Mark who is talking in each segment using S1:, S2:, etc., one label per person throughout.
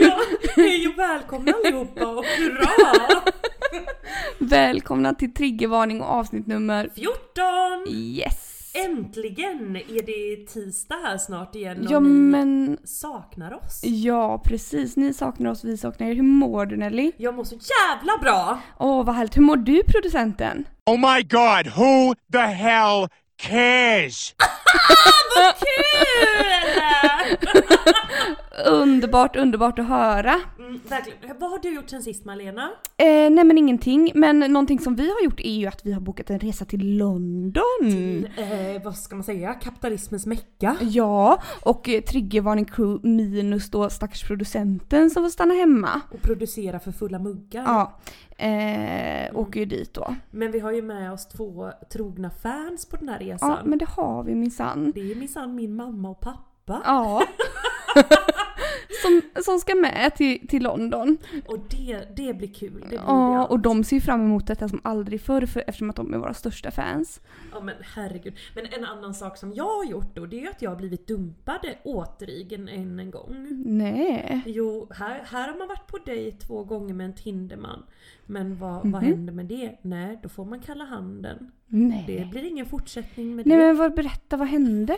S1: Ja, hej och välkomna allihopa och hurra!
S2: Välkomna till Triggervarning och avsnitt nummer
S1: 14!
S2: Yes!
S1: Äntligen är det tisdag här snart igen och
S2: Ja
S1: ni
S2: men,
S1: saknar oss.
S2: ja precis. Ni saknar oss, vi saknar er. Hur mår du Nelly?
S1: Jag mår så jävla bra!
S2: Åh vad härligt. Hur mår du producenten?
S3: Oh my god, who the hell cares?
S1: Kul!
S2: Underbart, underbart att höra.
S1: Mm, verkligen. Vad har du gjort sen sist Malena?
S2: Eh, nej men ingenting, men någonting som vi har gjort är ju att vi har bokat en resa till London.
S1: Eh, vad ska man säga? Kapitalismens mecka.
S2: Mm. Ja, och eh, triggervarning crew minus då stackars producenten som får stanna hemma.
S1: Och producera för fulla muggar.
S2: Ja, eh, åker ju dit då.
S1: Men vi har ju med oss två trogna fans på den här resan.
S2: Ja, men det har vi minsann.
S1: Det är minsann min mamma och pappa.
S2: Ja. som, som ska med till, till London.
S1: Och det, det blir kul. Det blir
S2: Mm, Ja,
S1: det.
S2: och de ser ju fram emot detta som aldrig förr för, eftersom att de är våra största fans.
S1: Ja men herregud. Men en annan sak som jag har gjort då det är ju att jag har blivit dumpad återigen än en gång.
S2: Nej.
S1: Jo, här, här har man varit på dig två gånger med en Tinderman. Men vad,
S2: Mhm.
S1: vad händer med det? Nej, då får man kalla handen.
S2: Nej.
S1: Det blir ingen fortsättning med
S2: Nej
S1: det.
S2: men vad, berätta, vad hände?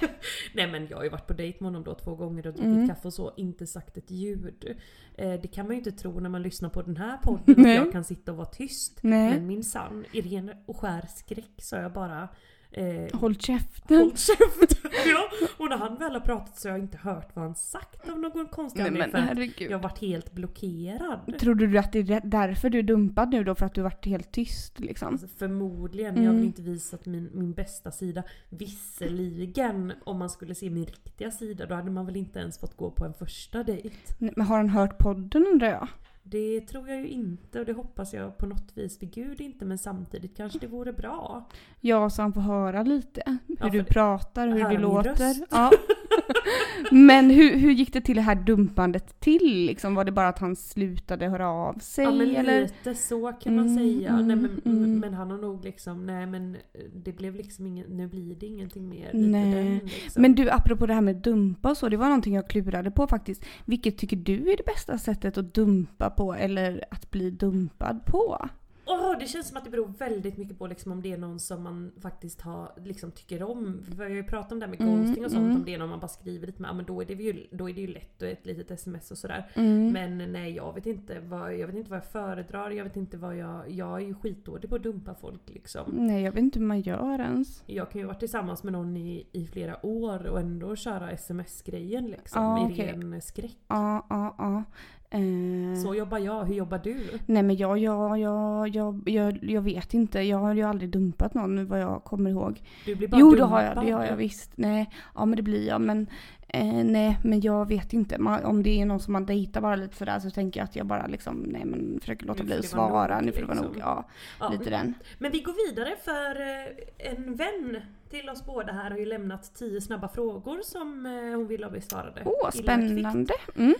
S1: Nej men jag har ju varit på dejt med honom då två gånger och druckit
S2: Mm.
S1: kaffe och så, inte sagt ett ljud. Eh, det kan man ju inte tro när man lyssnar på den här podden,
S2: Nej.
S1: att jag kan sitta och vara tyst.
S2: Nej.
S1: Men min sann, i ren och skär skräck så har jag bara eh,
S2: Håll käften.
S1: Håll käften! Ja, och när han väl har pratat så har jag inte hört vad han sagt av någon konstig
S2: Nej
S1: anledning.
S2: men
S1: för att
S2: herregud.
S1: Jag har varit helt blockerad.
S2: Trodde du att det är därför du är dumpad nu då? För att du varit helt tyst liksom?
S1: Alltså, förmodligen. Jag har väl inte visat min, min bästa sida. Visserligen, om man skulle se min riktiga sida då hade man väl inte ens fått gå på en första dejt.
S2: Nej, Men har han hört podden undrar jag?
S1: Det tror jag ju inte och det hoppas jag på något vis vid gud inte men samtidigt kanske det vore bra.
S2: Ja, så han får höra lite. Hur
S1: Ja,
S2: du
S1: för-
S2: pratar, hur
S1: höra
S2: du
S1: min
S2: låter.
S1: röst.
S2: Ja. Men hur, hur gick det till det här dumpandet till? Liksom, var det bara att han slutade höra av sig?
S1: Ja men
S2: eller?
S1: lite så kan man
S2: Mm,
S1: säga.
S2: mm,
S1: nej, men,
S2: mm.
S1: men han har nog liksom, nej men eh, det blev liksom ingen, nu blir det ingenting mer.
S2: Nej.
S1: Lite den, liksom.
S2: Men du, apropå det här med dumpa och så, det var någonting jag klurade på faktiskt. Vilket tycker du är det bästa sättet att dumpa på eller att bli dumpad på?
S1: Åh, det känns som att det beror väldigt mycket på liksom, om det är någon som man faktiskt har, liksom, tycker om. För Vi har ju pratat om det här med
S2: Mm,
S1: ghosting och sånt.
S2: mm.
S1: Om det är någon man bara skriver lite med, ja, men då är, det ju, då är det ju lätt och ett litet sms och sådär.
S2: Mm.
S1: Men nej, jag vet, inte vad, jag vet inte vad jag föredrar. Jag vet inte vad jag... Jag är ju skitdålig på att dumpa folk liksom.
S2: Nej, jag vet inte hur man gör ens.
S1: Jag kan ju vara tillsammans med någon i, i flera år och ändå köra sms-grejen liksom.
S2: Ja,
S1: I
S2: okej.
S1: ren skräck.
S2: Ja, ja, ja. Eh,
S1: Så jobbar jag. Hur jobbar du?
S2: Nej men jag, jag, jag, jag, jag, jag vet inte. Jag har ju aldrig dumpat någon vad jag kommer ihåg.
S1: Du blir bara
S2: jo det har jag,
S1: dumpad.
S2: det har jag visst. Nej, ja men det blir jag. Men eh, nej, men jag vet inte. Man, om det är någon som man dejtar bara lite sådär så tänker jag att jag bara liksom, nej men försöker låta
S1: Nu
S2: bli
S1: får
S2: att
S1: det vara
S2: svara.
S1: nog,
S2: Nu får det vara nog.
S1: liksom.
S2: Ja,
S1: Ja,
S2: lite den.
S1: Men vi går vidare för eh, en vän till oss båda här har ju lämnat tio snabba frågor som eh, hon vill ha besvarade.
S2: Åh,
S1: Illa kvickt.
S2: spännande. Mm.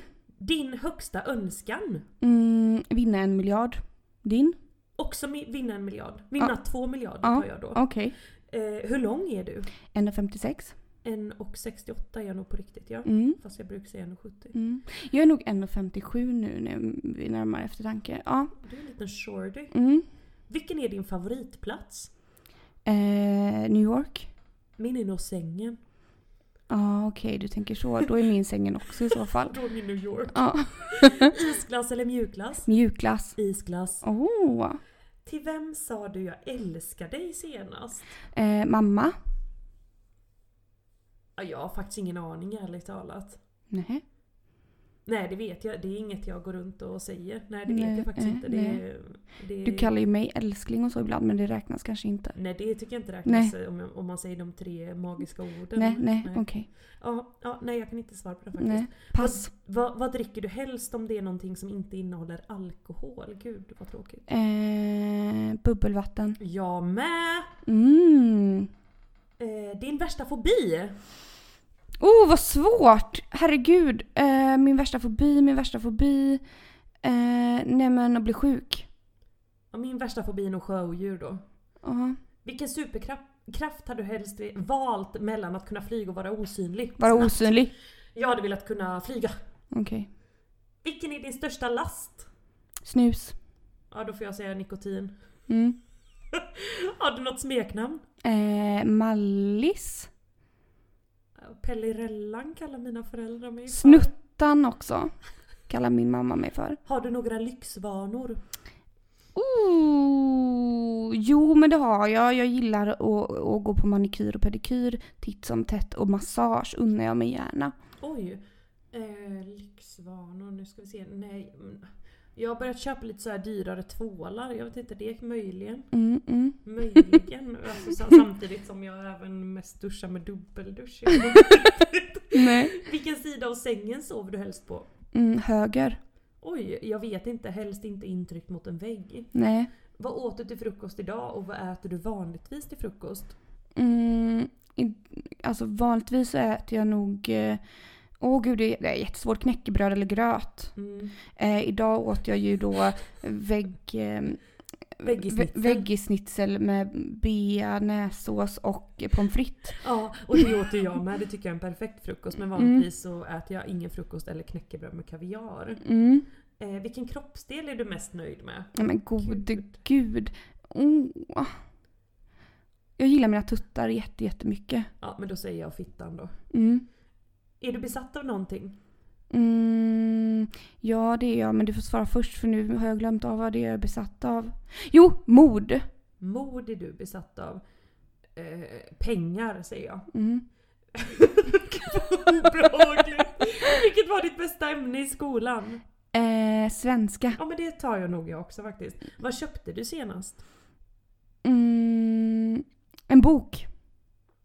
S1: Din högsta önskan?
S2: Mm, vinna en miljard. Din?
S1: Också mi- vinna en miljard. Vinna
S2: Ja.
S1: två miljarder
S2: Ja.
S1: tar jag då.
S2: Okej.
S1: Eh, hur lång är du?
S2: 1,56.
S1: En och 68 är jag nog på riktigt ja.
S2: Mm.
S1: Fast jag brukar säga en och 70.
S2: Mm. Jag är nog 1,57 nu när vi närmar eftertanke. Ja.
S1: Du är en liten shorty.
S2: Mm.
S1: Vilken är din favoritplats?
S2: Eh, New York.
S1: Min är nog sängen.
S2: Ja okej du tänker så. Då är min sängen också i så fall.
S1: Då är min New York.
S2: Ja.
S1: Isglass eller mjukglass?
S2: Mjukglass. Oh.
S1: Isglass.
S2: Åh!
S1: Till vem sa du jag älskar dig senast?
S2: Eh, mamma?
S1: Ja, Jag har faktiskt ingen aning ärligt talat.
S2: Nej.
S1: Nej det vet jag, det är inget jag går runt och säger. Nej det
S2: Nej,
S1: vet jag faktiskt
S2: nej,
S1: inte. Det,
S2: nej.
S1: det,
S2: Du kallar ju mig älskling och så ibland men det räknas kanske inte.
S1: Nej det tycker jag inte räknas om, om man säger de tre magiska orden.
S2: Nej, nej, okej.
S1: Ja, ja, nej jag kan inte svara på det faktiskt.
S2: Nej. Pass.
S1: Vad, vad dricker du helst om det är någonting som inte innehåller alkohol? Gud vad tråkigt.
S2: Eh, bubbelvatten.
S1: Jag med!
S2: Mm.
S1: Eh, din värsta fobi?
S2: Oh vad svårt! Herregud. Eh, min värsta fobi, min värsta fobi. Eh, nej men att bli sjuk.
S1: Ja, min värsta fobi är nog sjöodjur då.
S2: Ja.
S1: Vilken superkraft kraft hade du helst valt mellan att kunna flyga och vara osynlig?
S2: Vara
S1: Snabbt.
S2: osynlig.
S1: Jag hade velat kunna flyga.
S2: Okej.
S1: Vilken är din största last?
S2: Snus.
S1: Ja då får jag säga nikotin.
S2: Mm.
S1: Har du något smeknamn?
S2: Eh, mallis.
S1: Pellirellan kallar mina föräldrar mig för.
S2: Snuttan också. Kallar min mamma mig för.
S1: Har du några lyxvanor?
S2: Oh, jo men det har jag. Jag gillar att, att gå på manikyr och pedikyr. Titt som tätt och massage unnar jag mig gärna.
S1: Oj. Eh, lyxvanor, nu ska vi se. Nej. mm. Jag har börjat köpa lite så här dyrare tvålar. Jag vet inte, det är möjligen.
S2: Mm, mm.
S1: Möjligen. alltså, sa- samtidigt som jag även mest duschar med dubbeldusch. Jag vet inte riktigt.
S2: Nej.
S1: Vilken sida av sängen sover du helst på?
S2: Mm, höger.
S1: Oj, jag vet inte. Helst inte intryckt mot en vägg.
S2: Nej.
S1: Vad åt du till frukost idag och vad äter du vanligtvis till frukost?
S2: Mm, i, alltså vanligtvis så äter jag nog... eh, Åh gud, det är, det är jättesvårt. Knäckebröd eller gröt.
S1: Mm.
S2: Eh, idag åt jag ju då vägg... Eh,
S1: Veggisnitzel.
S2: vä- veggisnitzel med bea, nässås och pommes frites.
S1: Ja, och det åt ju jag med. Det tycker jag är en perfekt frukost. Men vanligtvis så äter jag ingen frukost eller knäckebröd med kaviar.
S2: Mm.
S1: Eh, vilken kroppsdel är du mest nöjd med?
S2: Ja, men gode
S1: Gud.
S2: gud. Åh. Jag gillar mina tuttar jätte, jättemycket.
S1: Ja, men då säger jag fittan då.
S2: Mm.
S1: Är du besatt av någonting?
S2: Mm, ja, det är jag. Men du får svara först för nu har jag glömt av vad det är jag är besatt av. Jo, mod.
S1: Mod är du besatt av. Eh, pengar säger jag.
S2: Mm.
S1: Obehagligt. Vilket var ditt bästa ämne i skolan?
S2: Eh, svenska.
S1: Ja men det tar jag nog jag också faktiskt. Vad köpte du senast?
S2: Mm, en bok.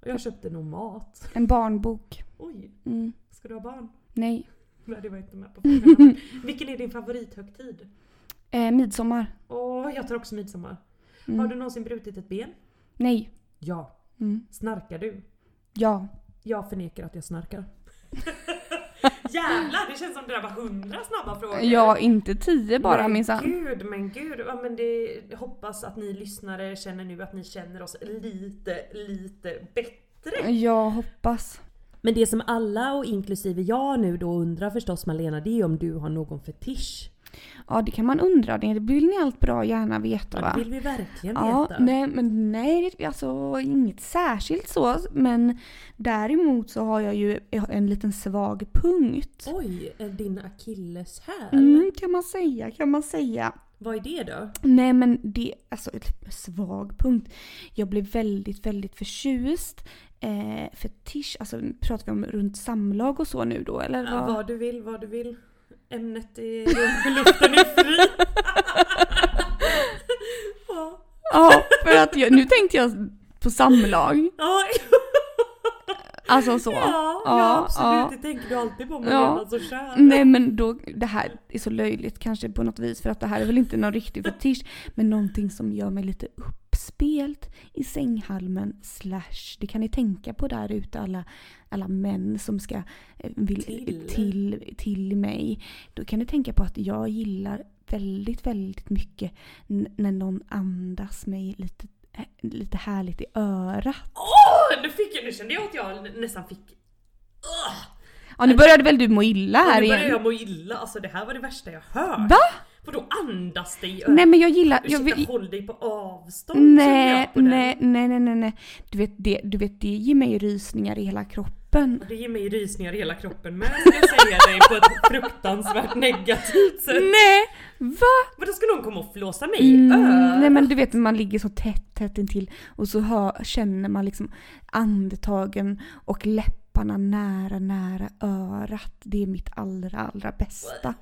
S1: Jag köpte nog mat.
S2: En barnbok.
S1: Oj,
S2: Mm,
S1: ska du ha barn?
S2: nej.
S1: Nej det var inte med på frågan. Vilken är din favorithögtid?
S2: Eh, midsommar.
S1: Åh, jag tar också midsommar.
S2: Mm.
S1: Har du någonsin brutit ett ben?
S2: Nej.
S1: Ja.
S2: Mm.
S1: Snarkar du?
S2: Ja.
S1: Jag förnekar att jag snarkar. Jävlar, det känns som det där var hundra snabba frågor.
S2: Ja, inte tio bara
S1: Men
S2: minsann.
S1: Gud, men gud. Ja, men det, jag hoppas att ni lyssnare känner nu att ni känner oss lite, lite bättre.
S2: Jag hoppas.
S1: Men det som alla och inklusive jag nu då undrar förstås Malena, det är om du har någon fetisch.
S2: Ja, det kan man undra. Det vill ni allt bra gärna veta va?
S1: Det vill vi verkligen
S2: Ja,
S1: veta.
S2: nej men nej, det- alltså inget särskilt så. Men däremot så har jag ju en liten svag punkt.
S1: Oj, är din akilleshäl.
S2: Mm, kan man säga, kan man säga.
S1: Vad är det då?
S2: Nej men det, alltså ett svag punkt. Jag blev väldigt, väldigt förtjust. Eh, fetisch, alltså pratar vi om runt samlag och så nu då eller?
S1: Ja,
S2: vad?
S1: vad du vill, vad du vill. Ämnet är... Luften är fri. ja.
S2: Ja, för att jag, nu tänkte jag på samlag.
S1: Ja.
S2: Alltså så.
S1: Ja, ja,
S2: Ja,
S1: absolut.
S2: ja.
S1: Det tänker du alltid på. Men
S2: Ja.
S1: ja. så kär.
S2: Nej men då, det här är så löjligt kanske på något vis för att det här är väl inte någon riktig fetisch men någonting som gör mig lite uppspelt i sänghalmen slash det kan ni tänka på där ute alla, alla män som ska eh, vill,
S1: Till.
S2: till. Till, mig. Då kan ni tänka på att jag gillar väldigt väldigt mycket n- när någon andas mig lite, eh, lite härligt i örat.
S1: Åh! Nu, fick jag, nu kände jag att jag nästan fick... Ugh!
S2: Ja nu började väl du må illa här
S1: Alltså- nu börjar
S2: igen?
S1: jag må illa. Alltså det här var det värsta jag hört.
S2: Va?
S1: Vadå andas dig i örat?
S2: Nej men jag gillar... Jag,
S1: Ursäkta,
S2: vill-
S1: håll dig på avstånd känner
S2: Nej,
S1: jag på den.
S2: nej, nej, nej, nej, nej. Du vet, det, du vet, det ger mig rysningar i hela kroppen.
S1: Det ger mig rysningar i hela kroppen med ska jag säga dig på ett fruktansvärt negativt sätt.
S2: Nej, va?
S1: Men då ska någon komma och flåsa mig i
S2: Mm,
S1: örat?
S2: nej men du vet man ligger så tätt, tätt intill och så hör, känner man liksom andetagen och läpparna läpparna nära, nära örat. Det är mitt allra, allra bästa.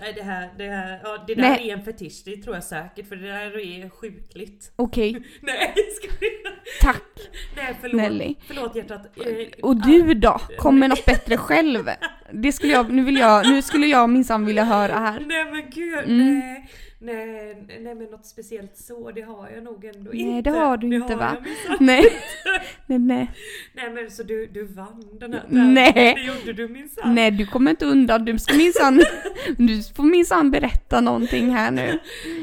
S1: Nej det här, det här, ja det där
S2: Nej.
S1: är en fetisch, det tror jag säkert för det där är sjukligt.
S2: Okej,
S1: Nej, ska vi...
S2: tack
S1: Nej förlåt.
S2: Nelly.
S1: Förlåt hjärtat. Eh,
S2: Och du då? Kom med något bättre själv. Det skulle jag, nu, vill jag, nu skulle jag minsann vilja höra här.
S1: Nej men gud,
S2: Mm.
S1: nej, nej, nej men något speciellt så, det har jag nog ändå
S2: Nej,
S1: inte.
S2: det har du
S1: Det
S2: inte,
S1: har
S2: va?
S1: jag minsann.
S2: Nej. Nej, nej.
S1: Nej men så du, du vann den här tävlingen.
S2: Nej.
S1: Det gjorde du minsann.
S2: nej, du kommer inte undan. Du ska minsann, du får minsann berätta någonting här nu.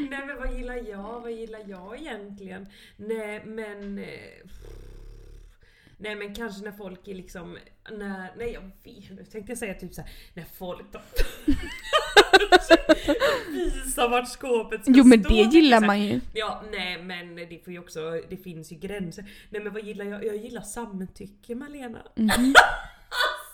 S1: Nej men vad gillar jag? Vad gillar jag egentligen? Nej men... eh, Nej men kanske när folk är liksom... När, nej jag vet nu tänkte jag säga typ såhär, när folk då, visar vart skåpet ska
S2: Jo men
S1: stå,
S2: det
S1: tänkte jag
S2: gillar
S1: säga.
S2: man ju.
S1: Ja, nej men det får ju också, det finns ju gränser. Nej men vad gillar jag? Jag gillar samtycke Malena.
S2: Mhm.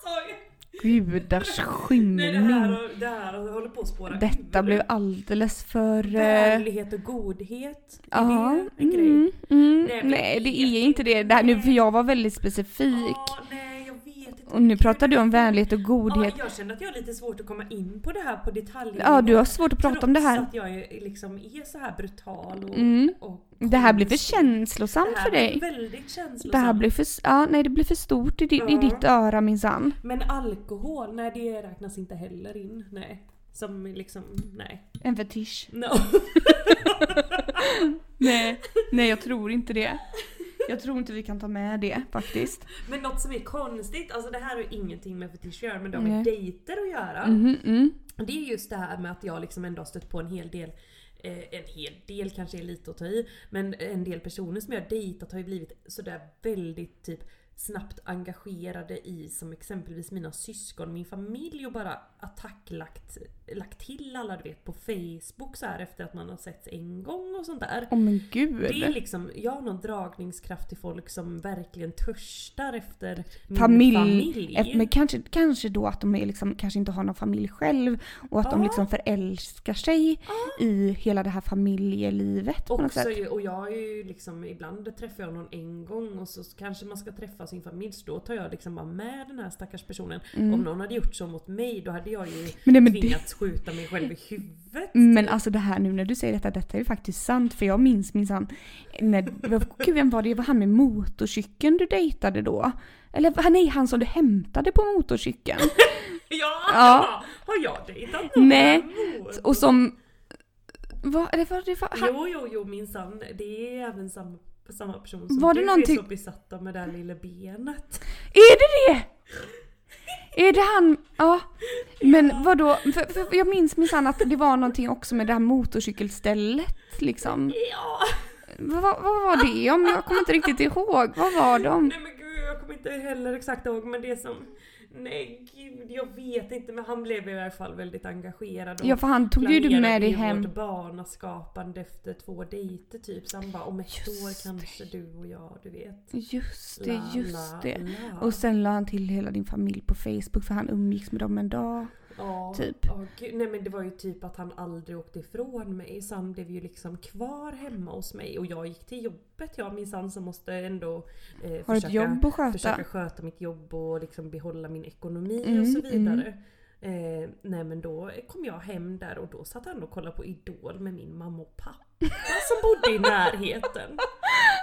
S1: Sorry.
S2: Gudars
S1: Nej det här,
S2: skymning.
S1: har- det här håller på att spåra
S2: Mm. Detta
S1: ur.
S2: blev alldeles för... eh,
S1: Vänlighet och godhet. Är
S2: Ja,
S1: det en grej?
S2: mm, mm,
S1: Nej, men
S2: nej det
S1: vet
S2: är inte det. det här, nu, för jag var väldigt specifik.
S1: Ja, nej jag vet inte.
S2: Och nu pratar du om vänlighet och
S1: godhet.
S2: godhet.
S1: Ja, jag känner att jag har lite svårt att komma in på det här på detalj.
S2: Ja, du har svårt att prata om det här.
S1: Trots att jag är, liksom är så här brutal och...
S2: Mm.
S1: och
S2: Det här blir för känslosamt
S1: Det här
S2: för dig.
S1: blir väldigt känslosamt.
S2: Det här blir för, ja, nej, det blir för stort i, di, i
S1: Ja.
S2: ditt öra minsann.
S1: Men alkohol, nej det räknas inte heller in. Nej. Som liksom, nej.
S2: En fetisch.
S1: No.
S2: Nej, nej jag tror inte det. Jag tror inte vi kan ta med det faktiskt.
S1: Men något som är konstigt, alltså det här har ju ingenting med fetisch att göra men det har
S2: Nej.
S1: med dejter att göra.
S2: Mhm, mm.
S1: Det är just det här med att jag liksom ändå har stött på en hel del eh, en hel del kanske är lite att ta i, men en del personer som jag har dejtat har ju blivit sådär väldigt typ snabbt engagerade i som exempelvis mina syskon, min familj och bara attacklagt lagt till alla du vet på Facebook så här efter att man har sett en gång och sånt där.
S2: Åh men
S1: Det är
S2: gud.
S1: liksom, jag har någon dragningskraft till folk som verkligen törstar efter min
S2: Familj.
S1: familj.
S2: Eh, Men kanske, kanske då att de är liksom, kanske inte har någon familj själv och att de
S1: Ja.
S2: liksom förälskar sig i hela det här familjelivet på något
S1: Ah. Också,
S2: sätt.
S1: ju- och jag har ju liksom, ibland träffar jag någon en gång och så kanske man ska träffa sin familj så då tar jag liksom bara med den här stackars personen. Om någon hade gjort så mot mig då hade jag ju
S2: Mm. Men nej, men det-
S1: tvingats skjuta mig själv i huvudet.
S2: Men alltså det här nu när du säger detta, detta är ju faktiskt sant för jag minns minsann när, vad- gud vem var det, var han med motorcykeln du dejtade då? Eller va- nej, han som du hämtade på motorcykeln.
S1: Ja!
S2: Ja.
S1: Har jag dejtat någon?
S2: Nej.
S1: Mor.
S2: Och som, vad, eller var det, var, han,
S1: Jo, jo, jo minsann. Det är även samma, samma person som
S2: Var det
S1: du
S2: någonting-
S1: är så besatt av med det här lilla benet.
S2: är det det? Är det han, ja. Men vadå, för, för jag minns minsann att det var någonting också med det här motorcykelstället liksom.
S1: Ja!
S2: Vad, vad var det om? Jag kommer inte riktigt ihåg. Vad var de?
S1: Nej men gud jag kommer inte heller exakt ihåg men det som... Nej gud jag vet inte men han blev i alla fall väldigt engagerad. och
S2: Ja för han tog ju du
S1: planerade
S2: med dig
S1: ju
S2: hem.
S1: vårt barnaskapande efter två dejter typ. Så han bara om ett år kanske du och jag du vet.
S2: Just det,
S1: La, la,
S2: just det.
S1: la.
S2: Och sen la han till hela din familj på Facebook för han umgicks med dem en dag.
S1: ja,
S2: typ.
S1: ja, gud. Nej men det var ju typ att han aldrig åkte ifrån mig så han blev ju liksom kvar hemma hos mig och jag gick till jobbet jag minsann som måste ändå eh,
S2: Har ett
S1: försöka-
S2: jobb att sköta.
S1: försöka sköta mitt jobb och liksom behålla min ekonomi
S2: Mm,
S1: och så vidare. Eh, nej men då kom jag hem där och då satt han och kollade på Idol med min mamma och pappa som bodde i närheten.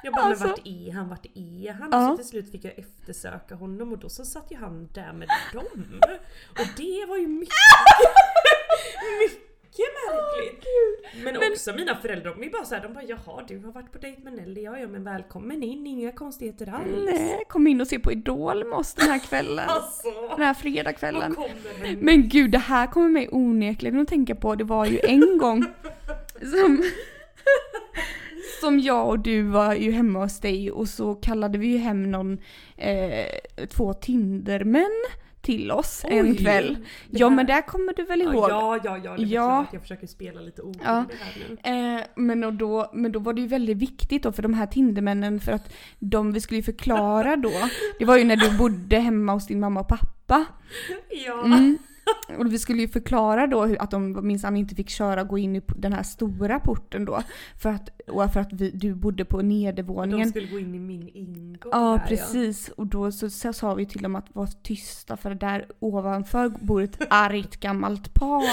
S1: Jag bara
S2: Alltså.
S1: men vart är han, vart är han?
S2: Ja.
S1: Och så till slut fick jag eftersöka honom och då så satt ju han där med dem. Och det var ju mycket, mycket märkligt. Men, också mina föräldrar, de är bara såhär, de bara jaha du har varit på dejt med Nelly, ja ja men välkommen in, inga konstigheter alls.
S2: Nej, kom in och se på Idol med oss den här kvällen.
S1: Alltså!
S2: Den här fredagskvällen.
S1: kommer hem.
S2: Men gud, det här kommer mig onekligen att tänka på. Det var ju en gång som, som jag och du var ju hemma hos dig och så kallade vi ju hem någon, eh, två Tindermän till oss en
S1: Oj,
S2: kväll.
S1: det
S2: Ja
S1: här-
S2: men det här kommer du väl ihåg?
S1: Ja, ja, ja. Det är
S2: Ja.
S1: klart att jag försöker spela lite oskyldig
S2: Ja.
S1: här nu.
S2: Eh, men, och då, men då var det ju väldigt viktigt då för de här Tindermännen för att de vi skulle ju förklara då, det var ju när du bodde hemma hos din mamma och pappa.
S1: Ja.
S2: Mm. Och vi skulle ju förklara då hur, att de minsann inte fick köra och gå in i p- den här stora porten då. För att, och för att vi, du bodde på
S1: De
S2: nedervåningen.
S1: skulle gå in i min ingång
S2: Ja
S1: där,
S2: precis och då så, så sa vi till dem att vara tysta för där ovanför bor ett argt gammalt par.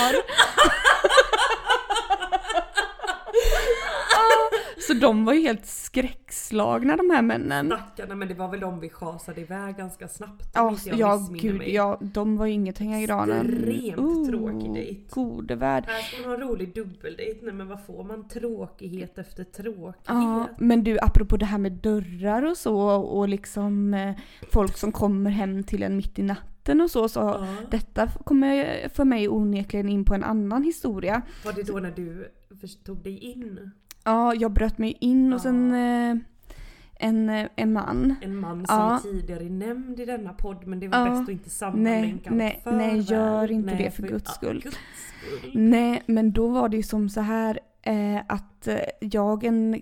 S2: Ja, så de var ju helt skräckslagna de här männen.
S1: Stackarna, men det var väl de vi schasade iväg ganska snabbt
S2: Ja,
S1: om inte jag
S2: ja
S1: missminner
S2: gud
S1: mig.
S2: ja, de var ju inget att hänga i granen. Oh,
S1: Extremt tråkig dejt.
S2: Gode värld.
S1: Här ska man ha en rolig dubbeldejt. Nej men vad får man? Tråkighet efter tråkighet.
S2: Ja, men du apropå det här med dörrar och så och liksom eh, folk som kommer hem till en mitt i natten och så. så
S1: Ja.
S2: Detta kommer för mig onekligen in på en annan historia.
S1: Var det då när du först- tog dig in?
S2: Ja, jag bröt mig in hos en, eh, en, eh, en man.
S1: En man som
S2: Ja.
S1: tidigare är nämnd i denna podd men det var
S2: Ja.
S1: bäst att inte
S2: Nej,
S1: sammanlänka allt
S2: nej,
S1: för
S2: nej, gör
S1: väl.
S2: inte det för guds
S1: ja,
S2: skull.
S1: guds skull.
S2: Nej, men då var det ju som så här eh, att eh, jag en,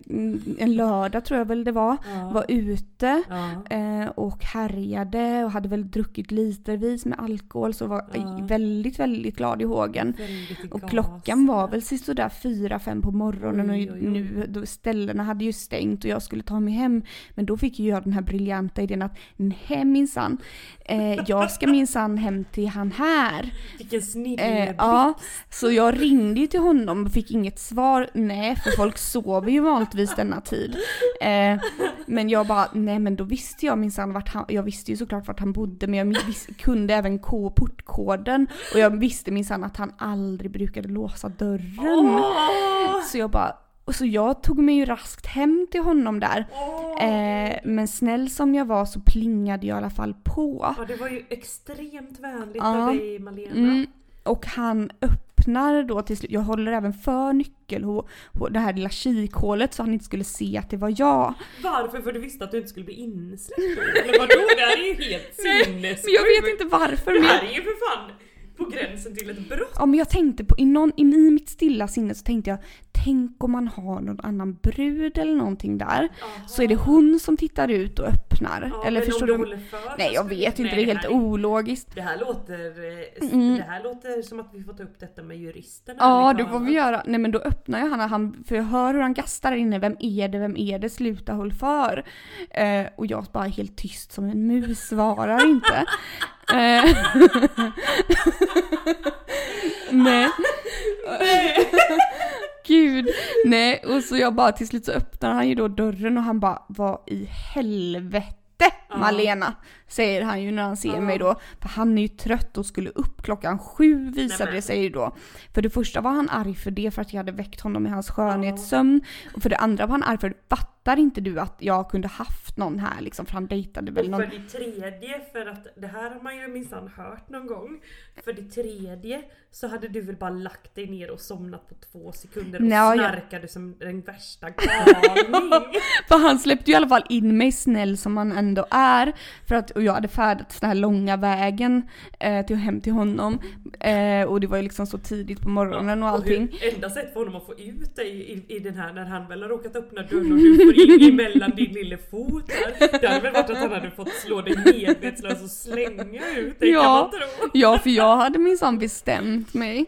S2: en lördag tror jag väl det var,
S1: Ja.
S2: var ute
S1: Ja.
S2: eh, och härjade och hade väl druckit litervis med alkohol så var
S1: Ja.
S2: väldigt, väldigt glad i hågen.
S1: Väldigt i
S2: Och
S1: gas.
S2: klockan var väl sist sådär fyra, fem på morgonen
S1: Oj,
S2: och
S1: oj, oj.
S2: nu, då, ställena hade ju stängt och jag skulle ta mig hem. Men då fick ju jag den här briljanta idén att nej minsann, eh, jag ska minsann hem till han här.
S1: Vilken
S2: Eh,
S1: snilleblixt.
S2: ja, så jag ringde ju till honom och fick inget svar. Nej, för folk sover ju vanligtvis denna tid. Eh, men jag bara, nej men då visste jag minsann vart han, jag visste ju såklart vart han bodde men jag vis, kunde även k- portkoden och jag visste minsann att han aldrig brukade låsa dörren.
S1: Åh!
S2: Så jag bara, och så jag tog mig ju raskt hem till honom där. Eh, men snäll som jag var så plingade jag i alla fall på.
S1: Ja, det var ju extremt vänligt
S2: Ja.
S1: av dig Malena.
S2: Mm. Och han öppnar då till slut, jag håller även för nyckel och, och det här lilla kikhålet så han inte skulle se att det var jag.
S1: Varför? För du visste att du inte skulle bli insläppt då? Eller vadå? Det här är ju helt sinnessjukt.
S2: Men jag vet inte varför
S1: Det
S2: men jag,
S1: här är ju för fan på gränsen till ett brott.
S2: ja, men jag tänkte på, i, någon, i mitt stilla sinne så tänkte jag tänk om man har någon annan brud eller någonting där. Så är det hon som tittar ut och öppnar.
S1: Ja,
S2: eller
S1: men
S2: förstår
S1: om
S2: du?
S1: du håller för
S2: Nej
S1: så
S2: jag
S1: skulle-
S2: vet inte,
S1: Nej,
S2: det är helt
S1: här
S2: ologiskt.
S1: Det här, låter, eh, s-
S2: Mm.
S1: det här låter som att vi får ta upp detta med juristerna.
S2: Ja,
S1: här liksom.
S2: det
S1: i
S2: får vi
S1: kameran.
S2: göra. Nej men då öppnar jag han, han för jag hör hur han gastar där inne. Vem är det, vem är det, sluta håll för. Eh, och jag bara helt tyst som en mus, svarar inte. Eh. Nej. Gud. Nej, och så jag bara till slut så öppnar han ju då dörren och han bara vad i helvete Malena säger han ju när han ser
S1: Ja.
S2: mig då. För han är ju trött och skulle upp klockan sju visade
S1: Nämen.
S2: det sig ju då. För det första var han arg för det för att jag hade väckt honom i hans skönhetssömn. Och för det andra var han arg för fattar inte du att jag kunde haft någon här liksom för han dejtade väl
S1: Och
S2: någon.
S1: för det tredje, för att det här har man ju minsann hört någon gång. För det tredje så hade du väl bara lagt dig ner och somnat på två sekunder och
S2: Nej, jag-
S1: snarkade som den värsta galning.
S2: För han släppte ju i alla fall in mig snäll som han ändå är. För att, och jag hade färdats den här långa vägen eh, till, hem till honom. Eh, och det var ju liksom så tidigt på morgonen och allting.
S1: Och hur- Enda sättet för honom att få ut dig i, i den här när han väl har råkat öppna
S2: Mm.
S1: dörren och du får in emellan din lille fot där. Det hade väl varit att han hade fått slå dig medvetslös och slänga ut dig kan
S2: Ja.
S1: man tro.
S2: Ja, för jag hade minsann bestämt mig.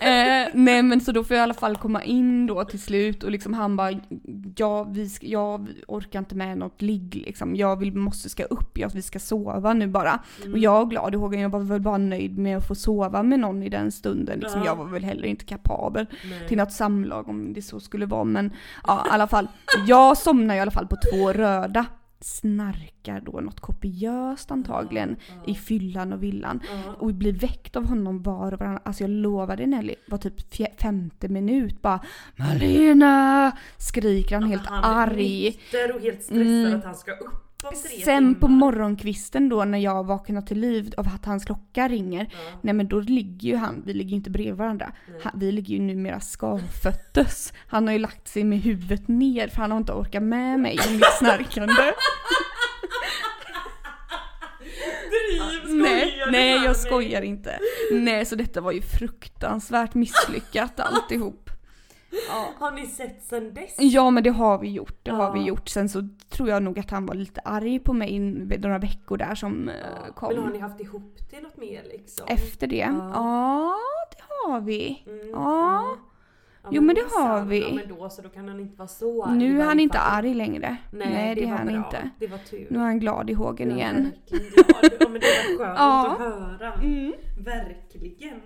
S2: Eh, nej men så då får jag i alla fall komma in då till slut och liksom han bara ja, vi ska, jag orkar inte med något ligg liksom. Jag vill, måste ska upp, jag, vi ska sova nu bara. Och jag är glad i hågen, jag var väl bara nöjd med att få sova med någon i den stunden. Liksom.
S1: Ja.
S2: Jag var väl heller inte kapabel
S1: Nej.
S2: till något samlag om det så skulle vara men ja i alla fall. Jag somnar ju i alla fall på två röda. Snarkar då något kopiöst antagligen i fyllan och villan.
S1: Ja.
S2: Och blir väckt av honom var och varannan. Alltså jag lovar dig Nelly, var typ fje- femte minut bara Malena! Skriker han helt
S1: han är
S2: arg.
S1: nykter och helt stressad
S2: Mm.
S1: att han ska upp om tre
S2: Sen på
S1: timmar.
S2: morgonkvisten då när jag vaknar till liv av att hans klocka ringer. Nej men då ligger ju han, vi ligger ju inte bredvid varandra. Han, vi ligger ju numera skavföttes. Han har ju lagt sig med huvudet ner för han har inte orkat med mig i mitt snarkande.
S1: Driv, skojar
S2: Nej,
S1: du
S2: nej
S1: med
S2: jag
S1: mig?
S2: skojar inte. Nej så detta var ju fruktansvärt misslyckat alltihop. Ja.
S1: Har ni sett sen dess?
S2: Ja men det har vi gjort, det har vi
S1: Ja.
S2: gjort. Sen så tror jag nog att han var lite arg på mig in, några veckor där som eh, kom.
S1: Men har ni haft ihop det något mer liksom?
S2: Efter det? Ja.
S1: Ja.
S2: det har vi.
S1: Mm,
S2: Ja.
S1: mm. Ja,
S2: Jo, men det har
S1: sant.
S2: vi.
S1: Ja, men då så, då kan han inte vara så arg. i
S2: Nu är
S1: varje
S2: han inte
S1: fall.
S2: arg längre. Nej, det, är
S1: var
S2: han
S1: bra.
S2: inte.
S1: Det var tur.
S2: Nu är han glad i hågen
S1: Jag är
S2: igen.
S1: verkligen glad. Ja, men det var skönt
S2: Ja.
S1: att höra.
S2: Mm.
S1: Verkligen.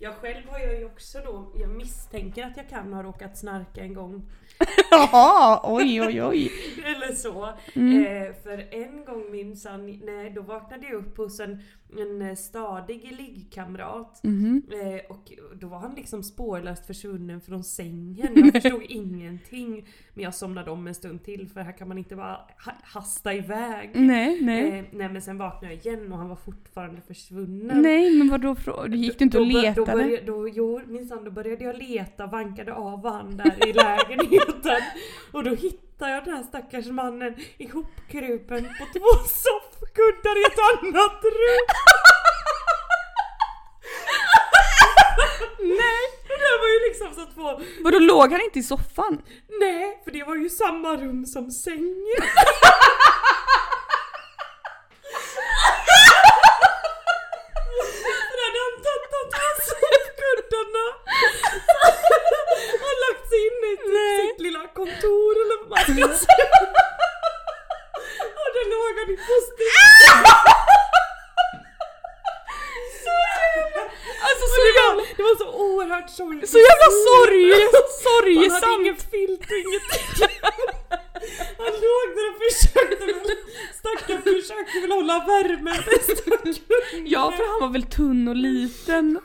S1: Jag själv har jag ju också då, jag misstänker att jag kan ha råkat snarka en gång.
S2: Jaha, oj oj oj.
S1: Eller så.
S2: Mm.
S1: Eh, för en gång minsann, nej då vaknade jag upp hos en, en eh, stadig liggkamrat.
S2: Mhm.
S1: Eh, och då var han liksom spårlöst försvunnen från sängen. Jag förstod ingenting. Men jag somnade om en stund till för här kan man inte bara ha- hasta iväg.
S2: Nej, nej.
S1: Eh, nej men sen vaknade jag igen och han var fortfarande försvunnen.
S2: Nej men vadå, frå- gick du inte och
S1: Då bör- Då
S2: letade?
S1: började, då, jo, minsann, då började jag leta, vankade av han där i lägenheten. Och då hittade jag den här stackars mannen ihopkrupen på två soffkuddar i ett annat rum. Nej! Det där var ju liksom så två...
S2: Vadå låg han inte i soffan?
S1: Nej, för det var ju samma rum som sängen. För hade han tattat hans kuddarna och lagt sig in i typ sitt lilla kontor eller vad man ska säga. Och där låg han i post-it.
S2: Alltså
S1: Och det var- Det var så oerhört sorgligt.
S2: så jävla sorg,
S1: Han hade
S2: sorgesamt!
S1: ingen filt och ingenting. Han låg där och försökte väl, stackaren försökte väl hålla värmen bäst han kunde.
S2: Ja för han var väl tunn och liten.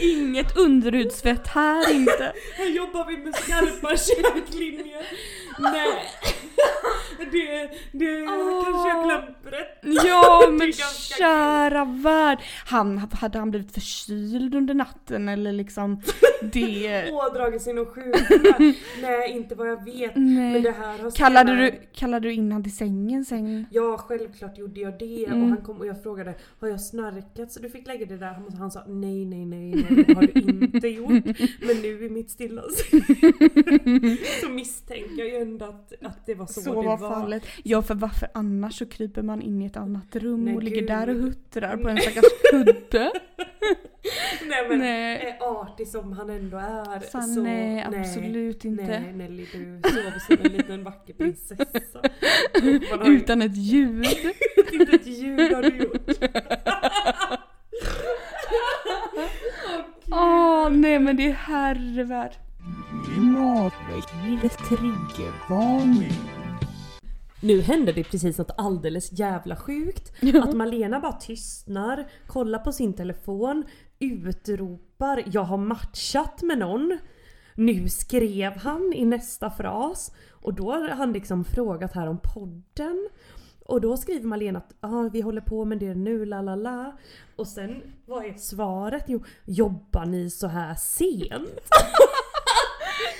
S2: Inget underudsvett här inte.
S1: Här jobbar vi med skarpa köklinjer. Nej. Det, det
S2: Åh.
S1: kanske jag glömt berätta.
S2: Ja
S1: Det
S2: men
S1: är ganska kul.
S2: kära värld! Han, hade han blivit förkyld under natten eller liksom det...
S1: Ådragit sig någon sjukdom. Nej, inte vad jag vet. Men det
S2: Nej.
S1: här har
S2: Kallade
S1: senare-
S2: du, kallade du in han till sängen sen?
S1: Ja, självklart gjorde jag det.
S2: Mm.
S1: Och han kom och jag frågade Har jag snarkat så du fick lägga det där? Han- Han sa nej, nej, nej, nej det har du inte gjort. Men nu i mitt stilla sinne så misstänker jag ju ändå att, att det var så,
S2: Så
S1: Alltså, det
S2: var
S1: var.
S2: fallet. Ja för varför annars så kryper man in i ett annat rum
S1: Nej,
S2: och ligger
S1: gud.
S2: där och huttrar på en
S1: Nej.
S2: stackars kudde?
S1: Nej men
S2: Nej.
S1: eh, artig som han ändå är.
S2: Fan
S1: så,
S2: nej absolut inte.
S1: Nej Nelly, du sover som en liten vacker prinsessa. Man har ju
S2: Utan ett ljud.
S1: inte ett ljud har du gjort.
S2: Åh nej men det är herrevärd.
S1: Nu hände det precis något alldeles jävla sjukt. Att Malena bara tystnar, kollar på sin telefon, utropar “Jag har matchat med någon”. Nu skrev han i nästa fras och då har han liksom frågat här om podden. Och då skriver Malena att ah, vi håller på med det nu, la la la. Och sen, vad är svaret? Jo, jobbar ni så här sent?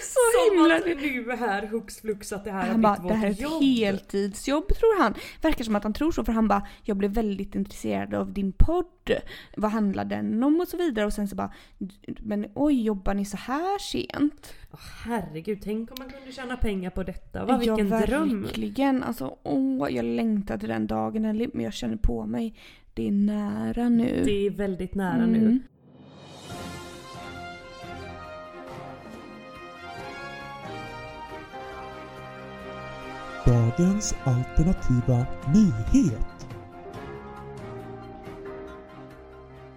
S2: Så
S1: Som
S2: himla
S1: att nu här hux flux att det här
S2: Han
S1: har
S2: bara, det här är
S1: blivit
S2: ett
S1: vårt jobb.
S2: heltidsjobb tror han. Verkar som att han tror så för han bara, jag blev väldigt intresserad av din podd. Vad handlar den om och så vidare. Och sen så bara, men oj jobbar ni så här sent?
S1: Åh, herregud, tänk om man kunde tjäna pengar på detta. Va, vilken
S2: ja,
S1: dröm!
S2: verkligen. Alltså åh, jag längtar till den dagen Ellie, men jag känner på mig, det är nära nu.
S1: Det är väldigt nära nu.
S2: Mm.
S4: Dagens alternativa nyhet.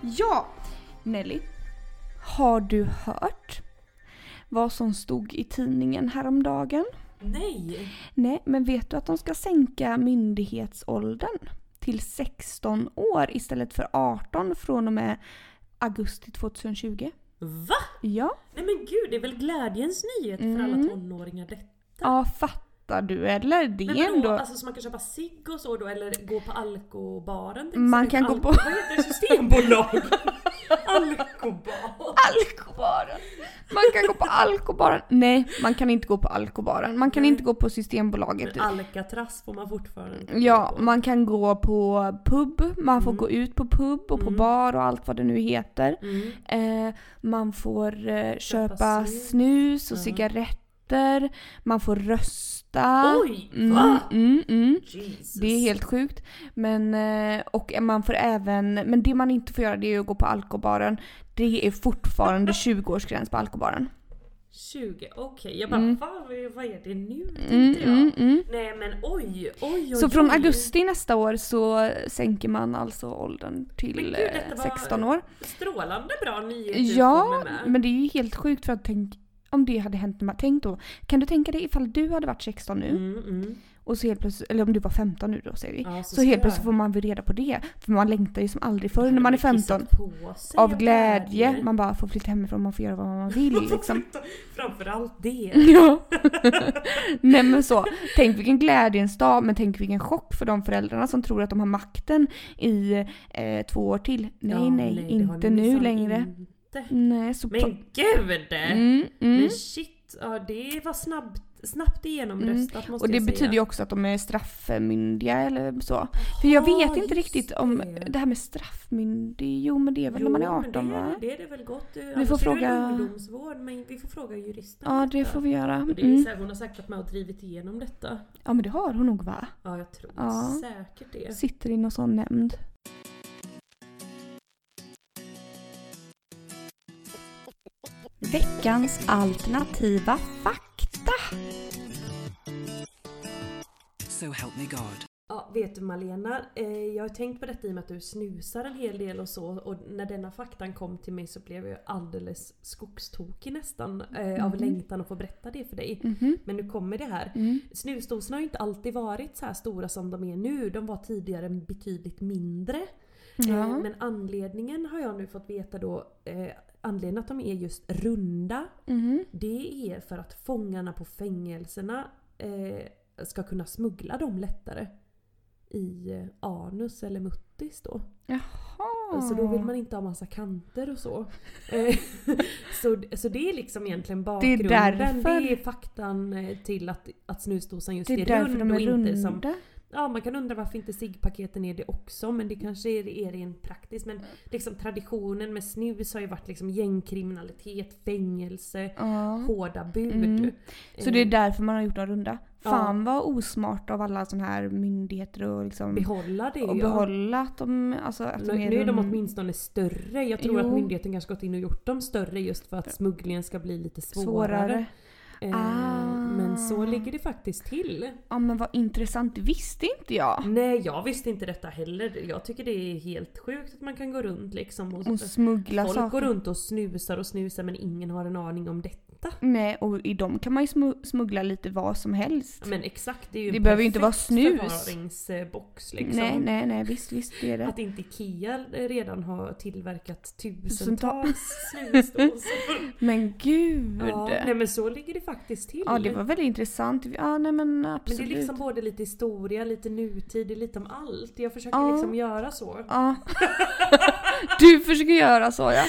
S2: Ja! Nelly, har du hört vad som stod i tidningen häromdagen?
S1: Nej!
S2: Nej, men vet du att de ska sänka myndighetsåldern till 16 år istället för 18 från och med augusti 2020?
S1: Va?
S2: Ja,
S1: Nej men gud, det är väl glädjens nyhet för
S2: Mm.
S1: alla tonåringar detta?
S2: ja fattar du eller? Det
S1: Men
S2: är
S1: vadå,
S2: ändå...
S1: alltså så man kan köpa cigg och så då eller gå på alkobaren? tänkte
S2: Man
S1: jag.
S2: kan gå
S1: Al-
S2: på-
S1: Vad heter det? Systembolag? Alkobar?
S2: Alkobaren! Man kan gå på alkobaren. Nej, man kan inte gå på alkobaren. Man kan
S1: Nej.
S2: inte gå på Systembolaget.
S1: Mm. Men Alcatraz får man fortfarande
S2: Ja,
S1: gå på.
S2: man kan gå på pub, man får
S1: Mm.
S2: gå ut på pub och på
S1: Mm.
S2: bar och allt vad det nu heter.
S1: Mm.
S2: Eh, man får eh, köpa,
S1: snus. Mm.
S2: snus, och
S1: Ja.
S2: cigaretter, man får rösta.
S1: Oj!
S2: Mm,
S1: Va?
S2: mm, mm.
S1: Jesus.
S2: Det är helt sjukt. Men, eh, och man får även, men det man inte får göra det är ju att gå på alkobaren. Det är fortfarande 20-årsgräns på alkobaren.
S1: 20, okej. Jag bara,
S2: Mm.
S1: vad, vad är det nu? Tänkte
S2: Mm,
S1: jag.
S2: mm, mm.
S1: Nej men oj, oj, oj.
S2: Så från
S1: oj.
S2: augusti nästa år så sänker man alltså åldern
S1: Men
S2: till
S1: gud,
S2: eh,
S1: detta var-
S2: 16 år.
S1: Strålande bra nyheter du
S2: Ja,
S1: kommer med.
S2: men det är ju helt sjukt för att tänk om det hade hänt när man tänkt då. Kan du tänka dig ifall du hade varit 16 nu
S1: Mm, mm.
S2: och så helt plötsligt, eller om du var 15 nu då säger vi.
S1: Ja,
S2: Så,
S1: ska
S2: helt
S1: jag.
S2: plötsligt får man väl reda på det. För man längtar ju som aldrig förr när man är
S1: Man har kissat
S2: 15.
S1: på sig
S2: Av glädje. Man bara får flytta hemifrån, man får göra vad man vill liksom.
S1: Framförallt det.
S2: Ja. Nej men så. Tänk vilken glädjens dag men tänk vilken chock för de föräldrarna som tror att de har makten i eh, två år till. Nej
S1: Ja,
S2: nej,
S1: det har
S2: inte
S1: ni
S2: nu
S1: minsann
S2: längre.
S1: Inte.
S2: Nej så...
S1: Men gud!
S2: Mm, mm.
S1: Men shit, ja, det var snabbt, snabbt genomröstat måste
S2: Mm. Och det
S1: jag
S2: betyder ju
S1: säga.
S2: också att de är straffmyndiga eller så. För jag vet inte riktigt om
S1: det.
S2: det. här med straffmyndig, jo men det är väl när man är 18
S1: det,
S2: va?
S1: Det är det väl gott. Vi
S2: får fråga-
S1: ungdomsvård, men vi får fråga juristen.
S2: Ja
S1: om
S2: det
S1: detta.
S2: får vi göra.
S1: Och det är ju
S2: Mm.
S1: så här, hon har säkert varit med och drivit igenom detta.
S2: Ja men det har hon nog va?
S1: Ja, jag tror
S2: Ja.
S1: säkert det.
S2: Sitter i någon sån nämnd. Veckans alternativa fakta.
S5: So help me God.
S1: Ja, vet du Malena, eh, jag har tänkt på detta i och med att du snusar en hel del och så och när denna faktan kom till mig så blev jag alldeles skogstokig nästan eh, av längtan att få berätta det för dig. Men nu kommer det här. Snusdosorna har ju inte alltid varit så här stora som de är nu. De var tidigare betydligt mindre. Eh, Men anledningen har jag nu fått veta då, eh, anledningen att de är just runda,
S2: Mm.
S1: det är för att fångarna på fängelserna eh, ska kunna smuggla dem lättare i eh, anus eller muttis då.
S2: Jaha.
S1: Så då vill man inte ha massa kanter och så. Eh, så, så det är liksom egentligen bakgrunden. Det är,
S2: därför-
S1: faktan eh, till att, att snusdosan just
S2: det är
S1: är,
S2: därför
S1: rund
S2: de är
S1: och inte
S2: runda.
S1: som Ja, man kan undra varför inte ciggpaketen är det också, men det kanske är, är rent praktiskt. Men
S2: Mm.
S1: liksom traditionen med snus har ju varit liksom gängkriminalitet, fängelse,
S2: Ja.
S1: hårda bud.
S2: Mm. Så
S1: Eh,
S2: det är därför man har gjort dem runda.
S1: Ja.
S2: Fan vad osmart av alla sådana här myndigheter och liksom
S1: behålla det
S2: och
S1: ja.
S2: behålla att de, alltså, att
S1: Nu,
S2: de är
S1: nu är de
S2: rund-
S1: åtminstone större. Jag tror
S2: Jo.
S1: att myndigheten kanske gått in och gjort dem större just för att smugglingen ska bli lite svårare.
S2: svårare.
S1: Eh,
S2: Ah.
S1: Men så ligger det faktiskt till.
S2: Ja men vad intressant, det visste inte jag.
S1: Nej, jag visste inte detta heller. Jag tycker det är helt sjukt att man kan gå runt liksom och,
S2: Och smuggla
S1: Folk
S2: saker.
S1: går runt och snusar och snusar men ingen har en aning om detta.
S2: Nej och i dem kan man ju smu- smuggla lite vad som helst.
S1: Men exakt, det är ju
S2: Det
S1: en
S2: behöver ju inte vara
S1: perfekt
S2: snus.
S1: förvaringsbox liksom.
S2: Nej nej nej visst visst det är det.
S1: Att inte IKEA redan har tillverkat tusentals snusdosor.
S2: Men gud.
S1: ja, nej men så ligger det faktiskt till.
S2: Ja det var väldigt intressant. Ja nej men
S1: men det
S2: absolut.
S1: är liksom både lite historia, lite nutid, det är lite om allt. Jag försöker
S2: Ja.
S1: liksom göra så.
S2: Ja. Du försöker göra så ja.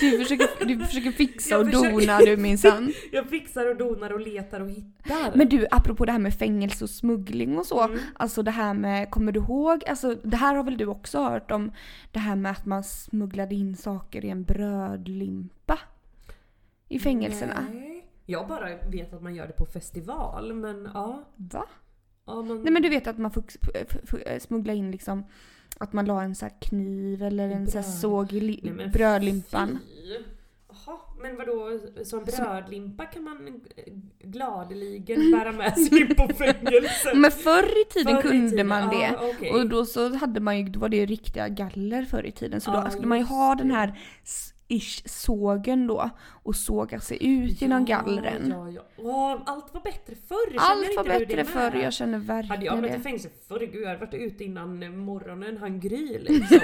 S2: Du försöker, du försöker fixa
S1: Jag
S2: och
S1: försöker-
S2: dona du minsann.
S1: Jag fixar och donar och letar och hittar.
S2: Men du, apropå det här med fängelse och smuggling och så.
S1: Mm.
S2: Alltså det här med, kommer du ihåg? Alltså det här har väl du också hört om? Det här med att man smugglade in saker i en brödlimpa. I fängelserna.
S1: Nej. Jag bara vet att man gör det på festival men ja.
S2: Va?
S1: ja man...
S2: Nej men du vet att man fick sp- f- f- smuggla in liksom att man la en så här kniv eller en så här
S1: Bröd.
S2: såg i li-
S1: Nej, men
S2: brödlimpan.
S1: Fy. Jaha, men vadå, som brödlimpa kan man eh, gladeligen bära med sig in på fängelset?
S2: Men förr i tiden
S1: Förr i
S2: kunde
S1: tiden,
S2: man det.
S1: ja, okej.
S2: Och då så hade man ju, då var det ju riktiga galler förr i tiden. Så då
S1: Ja,
S2: skulle man ju
S1: just
S2: ha den
S1: det.
S2: här s- ish sågen då och såga sig ut genom gallren.
S1: Ja, ja. Åh, allt var bättre förr, känner
S2: Allt
S1: inte
S2: var
S1: du det
S2: bättre
S1: med?
S2: förr, jag känner
S1: Hade jag
S2: verkligen
S1: varit i
S2: det.
S1: fängelse förr, gud jag hade varit ute innan eh, morgonen han gry liksom.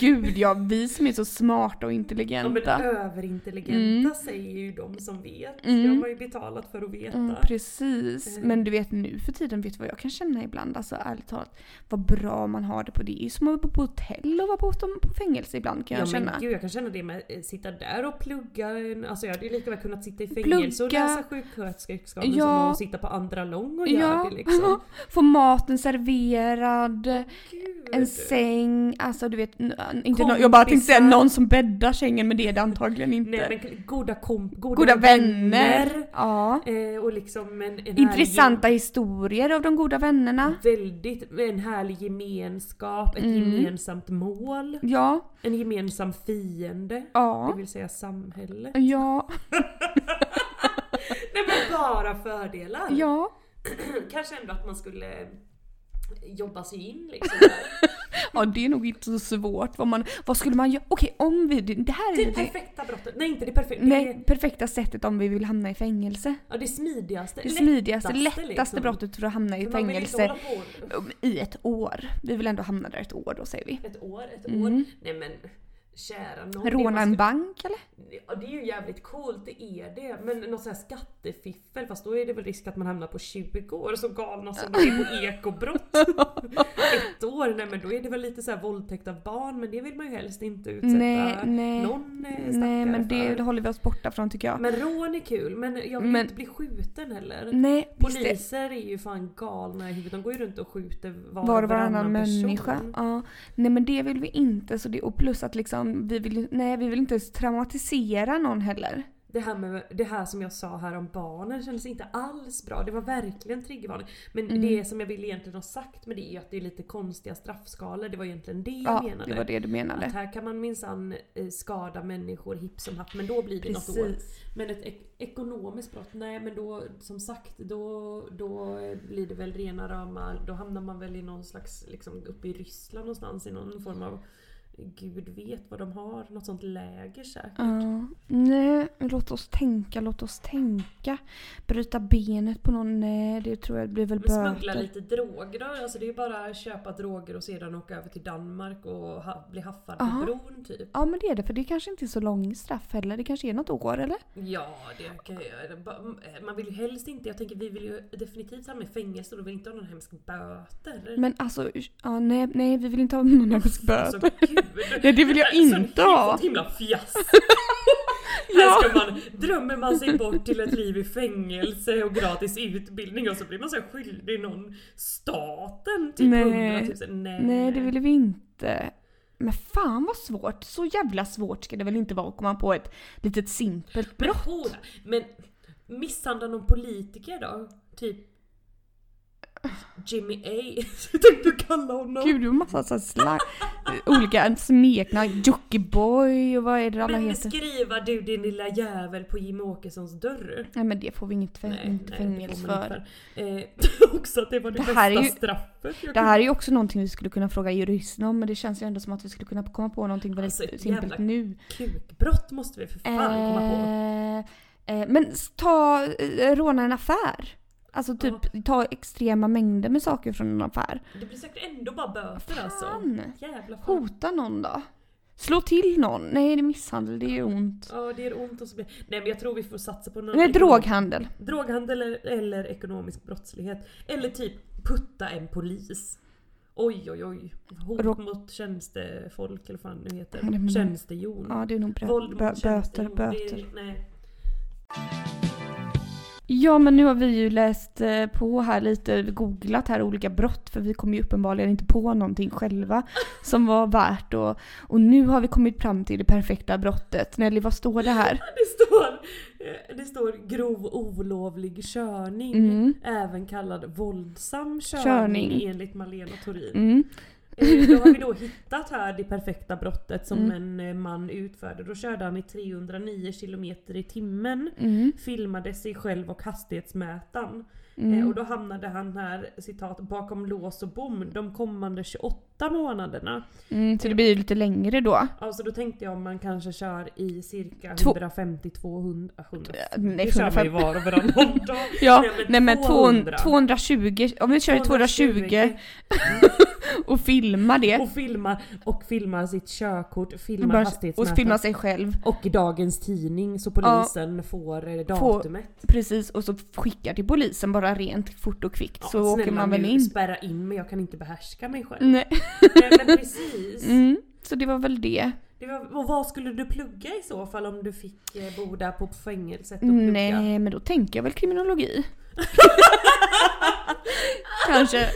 S2: Gud ja, vi som är så smarta och
S1: ja, men
S2: intelligenta.
S1: överintelligenta
S2: Mm.
S1: säger ju de som vet. Det har man ju betalat för att veta.
S2: Mm, precis,
S1: Mm.
S2: men du vet nu för tiden, vet du vad jag kan känna ibland? Alltså ärligt talat, vad bra man har det på det. Det är ju som att vara på hotell och vara på, på fängelse ibland kan jag
S1: ja,
S2: känna.
S1: Men gud, Gud jag kan känna det med eh, sitta där och plugga. Alltså jag hade ju lika väl kunnat sitta i fängelse och
S2: Plugga.
S1: läsa sjuksköterskeexamen som
S2: Ja.
S1: att sitta på andra lång och göra
S2: Ja,
S1: det liksom.
S2: få maten serverad,
S1: Gud.
S2: en säng, alltså du vet, n- inte nå- jag
S1: Kompisar.
S2: bara tänkte säga någon som bäddar sängen men det är det antagligen inte.
S1: Nej men goda komp... Goda,
S2: Goda vänner. Ja.
S1: Eh, och liksom en, en
S2: Intressanta historier av de goda vännerna.
S1: Härlig, väldigt, en härlig gemenskap, ett
S2: Mm.
S1: gemensamt mål,
S2: Ja,
S1: en gemensam fiende. Det
S2: ja,
S1: vill säga samhälle.
S2: ja,
S1: Nej men bara fördelar!
S2: ja.
S1: Kanske ändå att man skulle eh, jobba sig in liksom.
S2: Ja det är nog inte så svårt. Vad, man, vad skulle man göra? Okej om vi, det det här är
S1: det
S2: det,
S1: perfekta brottet. Nej inte det perfekta.
S2: nej,
S1: Nej.
S2: perfekta sättet om vi vill hamna i fängelse.
S1: Ja, det smidigaste.
S2: Det smidigaste,
S1: lättaste,
S2: lättaste
S1: liksom.
S2: brottet för att hamna i
S1: För man vill inte
S2: fängelse
S1: hålla på-
S2: i ett år. Vi vill ändå hamna där ett år då säger vi.
S1: Ett år, ett
S2: Mm.
S1: år. Nej men kära nån. det man
S2: Råna en
S1: skulle-
S2: bank eller?
S1: Ja, det är ju jävligt coolt, det är det. Men något sånt här skattefiffel, fast då är det väl risk att man hamnar på 20 år så galna som de är på ekobrott. Ett år, nej men då är det väl lite så här våldtäkt av barn men det vill man ju helst inte utsätta
S2: Nej, nej.
S1: någon eh, stackare
S2: Nej men det,
S1: för.
S2: håller vi oss borta från tycker jag.
S1: Men rån är kul, men jag vill
S2: Men-
S1: inte bli skjuten heller.
S2: nej, visst det.
S1: Poliser är ju fan galna i huvudet, de går ju runt och skjuter var,
S2: Var och
S1: varannan
S2: varannan
S1: person.
S2: människa. Ja. Nej men det vill vi inte. Så det, och plus att liksom, vi vill, nej, vi vill inte ens traumatisera någon heller.
S1: Det här, med, det här som jag sa här om barnen kändes inte alls bra. Det var verkligen triggervarning. Men det som jag ville egentligen ha sagt med det är ju att det är lite konstiga straffskalor. Det var egentligen det jag
S2: Ja,
S1: menade.
S2: det var det du
S1: Att
S2: menade.
S1: här kan man minsann eh, skada människor hipp som happ men då blir det något år.
S2: Precis.
S1: Men ett ek- ekonomiskt brott, nej men då som sagt då, då eh, blir det väl rena rama, då hamnar man väl i någon slags, liksom uppe i Ryssland någonstans i någon form av Gud vet vad de har, något sånt läger säkert.
S2: Ja. Nej, låt oss tänka, låt oss tänka. Bryta benet på någon, nej det tror jag blir väl
S1: Men smuggla
S2: böter.
S1: lite droger då? Alltså det är ju bara att köpa droger och sedan åka över till Danmark och ha, bli haffad på
S2: Aha.
S1: bron typ.
S2: Ja men det är det, för det kanske inte är så lång straff heller. Det kanske är något år eller?
S1: Ja, det kan jag göra. Ba- eh, Man vill ju helst inte, jag tänker vi vill ju definitivt hamna i fängelse och då vill vi inte ha någon hemsk böter.
S2: Men alltså, ja, nej, nej vi vill inte ha någon hemsk
S1: Alltså
S2: böter.
S1: gud. Alltså,
S2: Nej, det vill jag
S1: Sån-
S2: inte ha.
S1: Sånt himla fiasko.
S2: Ja.
S1: Här ska man, drömmer man sig bort till ett liv i fängelse och gratis utbildning och så blir man så här skyldig någon staten typ
S2: Nej.
S1: 100 000. Nej.
S2: Nej det vill vi inte. Men fan vad svårt. Så jävla svårt ska det väl inte vara att komma på ett litet simpelt
S1: Men
S2: brott.
S1: hora, men misshandla någon politiker då? Typ Jimmy A. Jag tänkte kalla honom.
S2: Gud, du har massa så här slag, olika smeknamn. Jockiboi och vad är det alla
S1: men
S2: heter?
S1: skriva du din lilla jävel på Jimmy Åkessons dörr.
S2: Nej men det får vi inget fäng- inte fängelse
S1: det får man
S2: för.
S1: inte för. Eh, också att det var det,
S2: Det
S1: bästa
S2: här är ju-
S1: straffet jag
S2: Det här är ju också någonting vi skulle kunna fråga juristen om men det känns ju ändå som att vi skulle kunna komma på någonting väldigt
S1: Alltså, ett
S2: simpelt
S1: jävla
S2: nu.
S1: Kukbrott måste vi för fan komma på.
S2: Eh, eh, men s- ta, eh, råna en affär. Alltså typ ta extrema mängder med saker från en affär.
S1: Det blir säkert ändå bara böter alltså.
S2: Fan!
S1: Jävla fan.
S2: Hota någon då? Slå till någon? Nej det är misshandel, det är ont.
S1: Ja det gör ont och så blir... Nej men jag tror vi får satsa på någon...
S2: Nej droghandel.
S1: Droghandel eller, eller ekonomisk brottslighet. Eller typ putta en polis. Oj oj oj. Hot
S2: Ro-
S1: mot tjänstefolk eller vad fan nu heter.
S2: Ja, det är nog-
S1: Tjänstehjon.
S2: Ja det är nog
S1: Våld
S2: bö-
S1: mot
S2: bö- böter,
S1: tjänstehjon. Det är-
S2: böter.
S1: Nej.
S2: Ja men nu har vi ju läst eh, på här lite, googlat här olika brott för vi kom ju uppenbarligen inte på någonting själva som var värt och, och nu har vi kommit fram till det perfekta brottet. Nelly vad står det här?
S1: Det står, eh, det står grov olovlig körning.
S2: Mm.
S1: Även kallad våldsam körning,
S2: Körning.
S1: enligt Malena Torin.
S2: Mm.
S1: Eh, Då har vi då hittat här det perfekta brottet som
S2: Mm.
S1: en eh, man utförde. Då körde han i 309 kilometer i timmen.
S2: Mm.
S1: Filmade sig själv och hastighetsmätaren. Eh,
S2: Mm.
S1: och då hamnade han här, citat, bakom lås och bom de kommande 28 månaderna.
S2: Mm, så det blir ju lite längre då.
S1: Alltså då tänkte jag om man kanske kör i cirka
S2: Två-
S1: 150-200... 100.
S2: Nej,
S1: Det kör man
S2: 150.
S1: ju var och varannan dag.
S2: Ja,
S1: Nej,
S2: nej men 200. 220, om vi kör i 220 och filmar det.
S1: Och filmar, och filmar sitt körkort, filmar
S2: Bara- Och
S1: hastighetsmätaren.
S2: filmar sig själv.
S1: Och i dagens tidning så polisen får eh, datumet.
S2: Precis, och så skickar till polisen bara rent fort och kvickt så åker man väl
S1: nu,
S2: in.
S1: spärra in mig, jag kan inte behärska mig själv.
S2: Nej.
S1: Nej men precis.
S2: Mm, så det var väl det.
S1: Det var, och vad skulle du plugga i så fall om du fick eh, bo där på fängelset och plugga?
S2: Nej, men då tänker jag väl kriminologi. Kanske.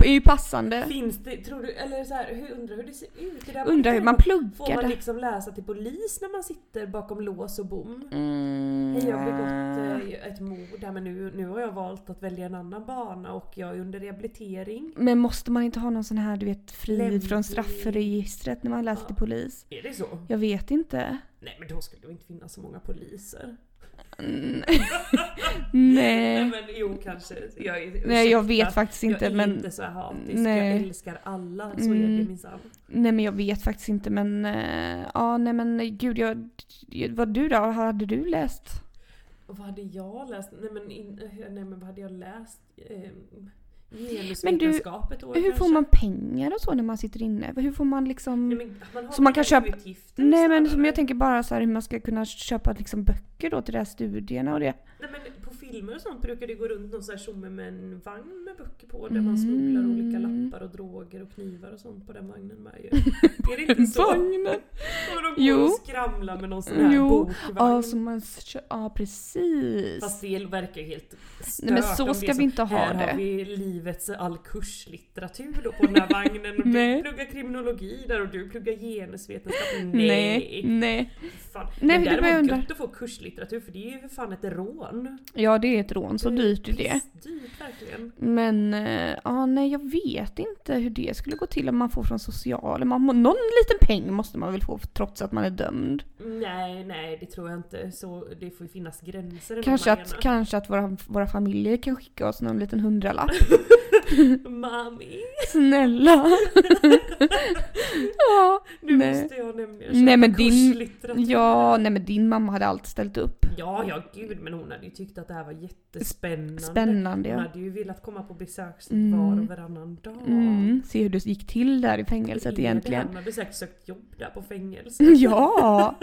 S2: Det är ju passande.
S1: Finns det, tror du, eller så här, hur, undrar hur det ser ut? Det där
S2: Undrar hur man
S1: Får
S2: pluggar
S1: man
S2: det.
S1: liksom läsa till polis när man sitter bakom lås och bom?
S2: Mm,
S1: Hej, jag har begått eh, ett mord här men nu, nu har jag valt att välja en annan bana och jag är under rehabilitering.
S2: Men måste man inte ha någon sån här du vet fri
S1: Lämplig-
S2: från straffregistret när man läser
S1: Ja.
S2: till polis?
S1: Är det så?
S2: Jag vet inte.
S1: Nej men då skulle det inte finnas så många poliser.
S2: Mm.
S1: Nej
S2: Nej.
S1: men jo kanske. Jag är,
S2: Nej jag vet
S1: ursäkta.
S2: faktiskt inte
S1: jag är
S2: men...
S1: inte så här hatisk,
S2: Nej.
S1: jag älskar alla, så är det
S2: Mm.
S1: minsann.
S2: Nej men jag vet faktiskt inte men... eh, Ja nej men gud jag... Vad du då? Hade du läst?
S1: Och vad hade jag läst? Nej men, in, eh, nej, men vad hade jag läst? Eh, Genusvetenskap ett år
S2: Hur får
S1: kanske.
S2: man pengar och så när man sitter inne? Hur får man liksom...
S1: Nej, men, man har
S2: Så man kan
S1: väl
S2: köpa-
S1: utgifter
S2: Nej men
S1: snarare.
S2: som jag tänker bara så här hur man ska kunna köpa liksom böcker då till de här studierna och det.
S1: Nej men på filmer och sånt brukar det gå runt någon sån här tjomme med en vagn med böcker på där man smugglar
S2: Mm.
S1: olika lappar och droger och knivar och sånt på den vagnen med ju. Är det inte så?
S2: Vagnen!
S1: Kommer de
S2: Jo.
S1: gå och skramla med någon sån här
S2: Jo.
S1: bokvagn?
S2: Ja, så man... s- kö- Ja, precis.
S1: Fast det verkar ju helt stört
S2: Nej men så
S1: om det är
S2: ska vi inte ha
S1: här har
S2: det.
S1: vi livets all kurslitteratur då på den här vagnen och du
S2: Nej.
S1: pluggar kriminologi där och du pluggar genusvetenskap. Nej!
S2: Nej, nej.
S1: Fan.
S2: Nej,
S1: men
S2: det var jag
S1: däremot
S2: undrar.
S1: gött att få kurslitteratur för det är ju för fan ett rån.
S2: Ja det är ett rån, så
S1: är
S2: dyrt är det.
S1: Pissdyrt verkligen.
S2: Men eh, ja, nej jag vet inte hur det skulle gå till om man får från socialen. Man, må- någon liten peng måste man väl få trots att man är dömd.
S1: Nej, nej det tror jag inte. Så det får ju finnas gränser. i de
S2: Kanske
S1: här
S2: att,
S1: grejerna.
S2: kanske att våra, våra familjer kan skicka oss någon liten hundralapp.
S1: Mami,
S2: Snälla! ja,
S1: nu
S2: Nej.
S1: måste jag nämligen
S2: Nej,
S1: köpa
S2: men din-
S1: kurslitteratur.
S2: ja, nej men din mamma hade alltid ställt upp.
S1: Ja, ja gud men hon hade ju tyckt att det här var jättespännande.
S2: Spännande
S1: Hon
S2: ja.
S1: hade ju velat komma på besök
S2: Mm.
S1: var och varannan dag.
S2: Mm, se hur det gick till där i fängelset
S1: Hur är det?
S2: egentligen. Mm.
S1: Hon hade säkert sökt jobb där på fängelset.
S2: Ja!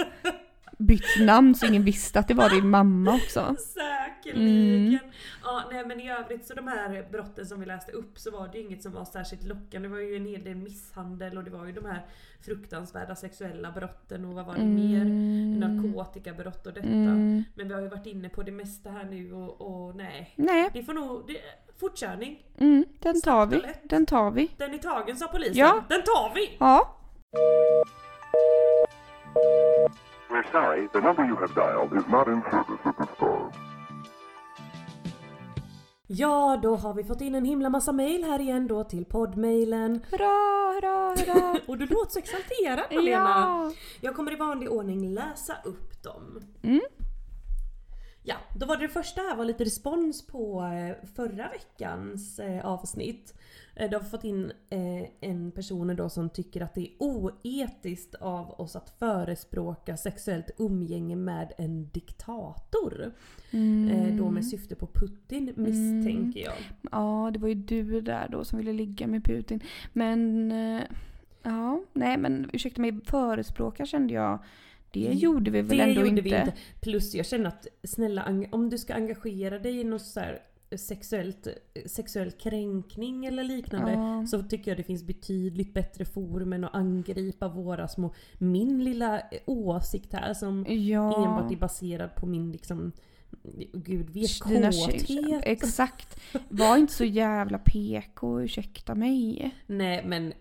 S2: Bytt namn så ingen visste att det var din mamma också.
S1: Säkerligen.
S2: Mm.
S1: Ja, nej men i övrigt så de här brotten som vi läste upp så var det ju inget som var särskilt lockande. Det var ju en hel del misshandel och det var ju de här fruktansvärda sexuella brotten och vad var det mer? Narkotikabrott och detta.
S2: Mm.
S1: Men vi har ju varit inne på det mesta här nu och, och nej.
S2: Nej,
S1: Det får nog... Det, fortkörning.
S2: mm, den tar vi.
S1: Snabbt och lätt.
S2: Den tar vi.
S1: Den är tagen sa polisen.
S2: Ja.
S1: Den tar vi!
S2: Ja.
S6: We're sorry, the number you have dialed is not in service at this time.
S1: Ja, då har vi fått in en himla massa mail här igen då till poddmailen.
S2: Hurra, hurra, hurra.
S1: Och du låter så exalterad Malena.
S2: ja.
S1: Jag kommer i vanlig ordning läsa upp dem.
S2: Mm.
S1: Ja, då var det, det första här var lite respons på eh, förra veckans eh, avsnitt. Eh, Då har vi fått in eh, en person då som tycker att det är oetiskt av oss att förespråka sexuellt umgänge med en diktator.
S2: Mm.
S1: Eh, Då med syfte på Putin misstänker jag.
S2: ja, det var ju du där då som ville ligga med Putin. Men eh, ja, nej men ursäkta mig, förespråka kände jag. Det gjorde vi väl
S1: Mm. det
S2: ändå
S1: gjorde
S2: inte.
S1: vi inte. Plus jag känner att snälla eng- om du ska engagera dig i något så här eh, sexuellt, eh, sexuell kränkning eller liknande
S2: Ja.
S1: så tycker jag det finns betydligt bättre forum än att angripa våra små, min lilla eh, åsikt här som
S2: Ja.
S1: enbart är baserad på min liksom, gud vet,
S2: Dina tjej-
S1: kåthet.
S2: Exakt. Var inte så jävla PK, ursäkta mig.
S1: Nej men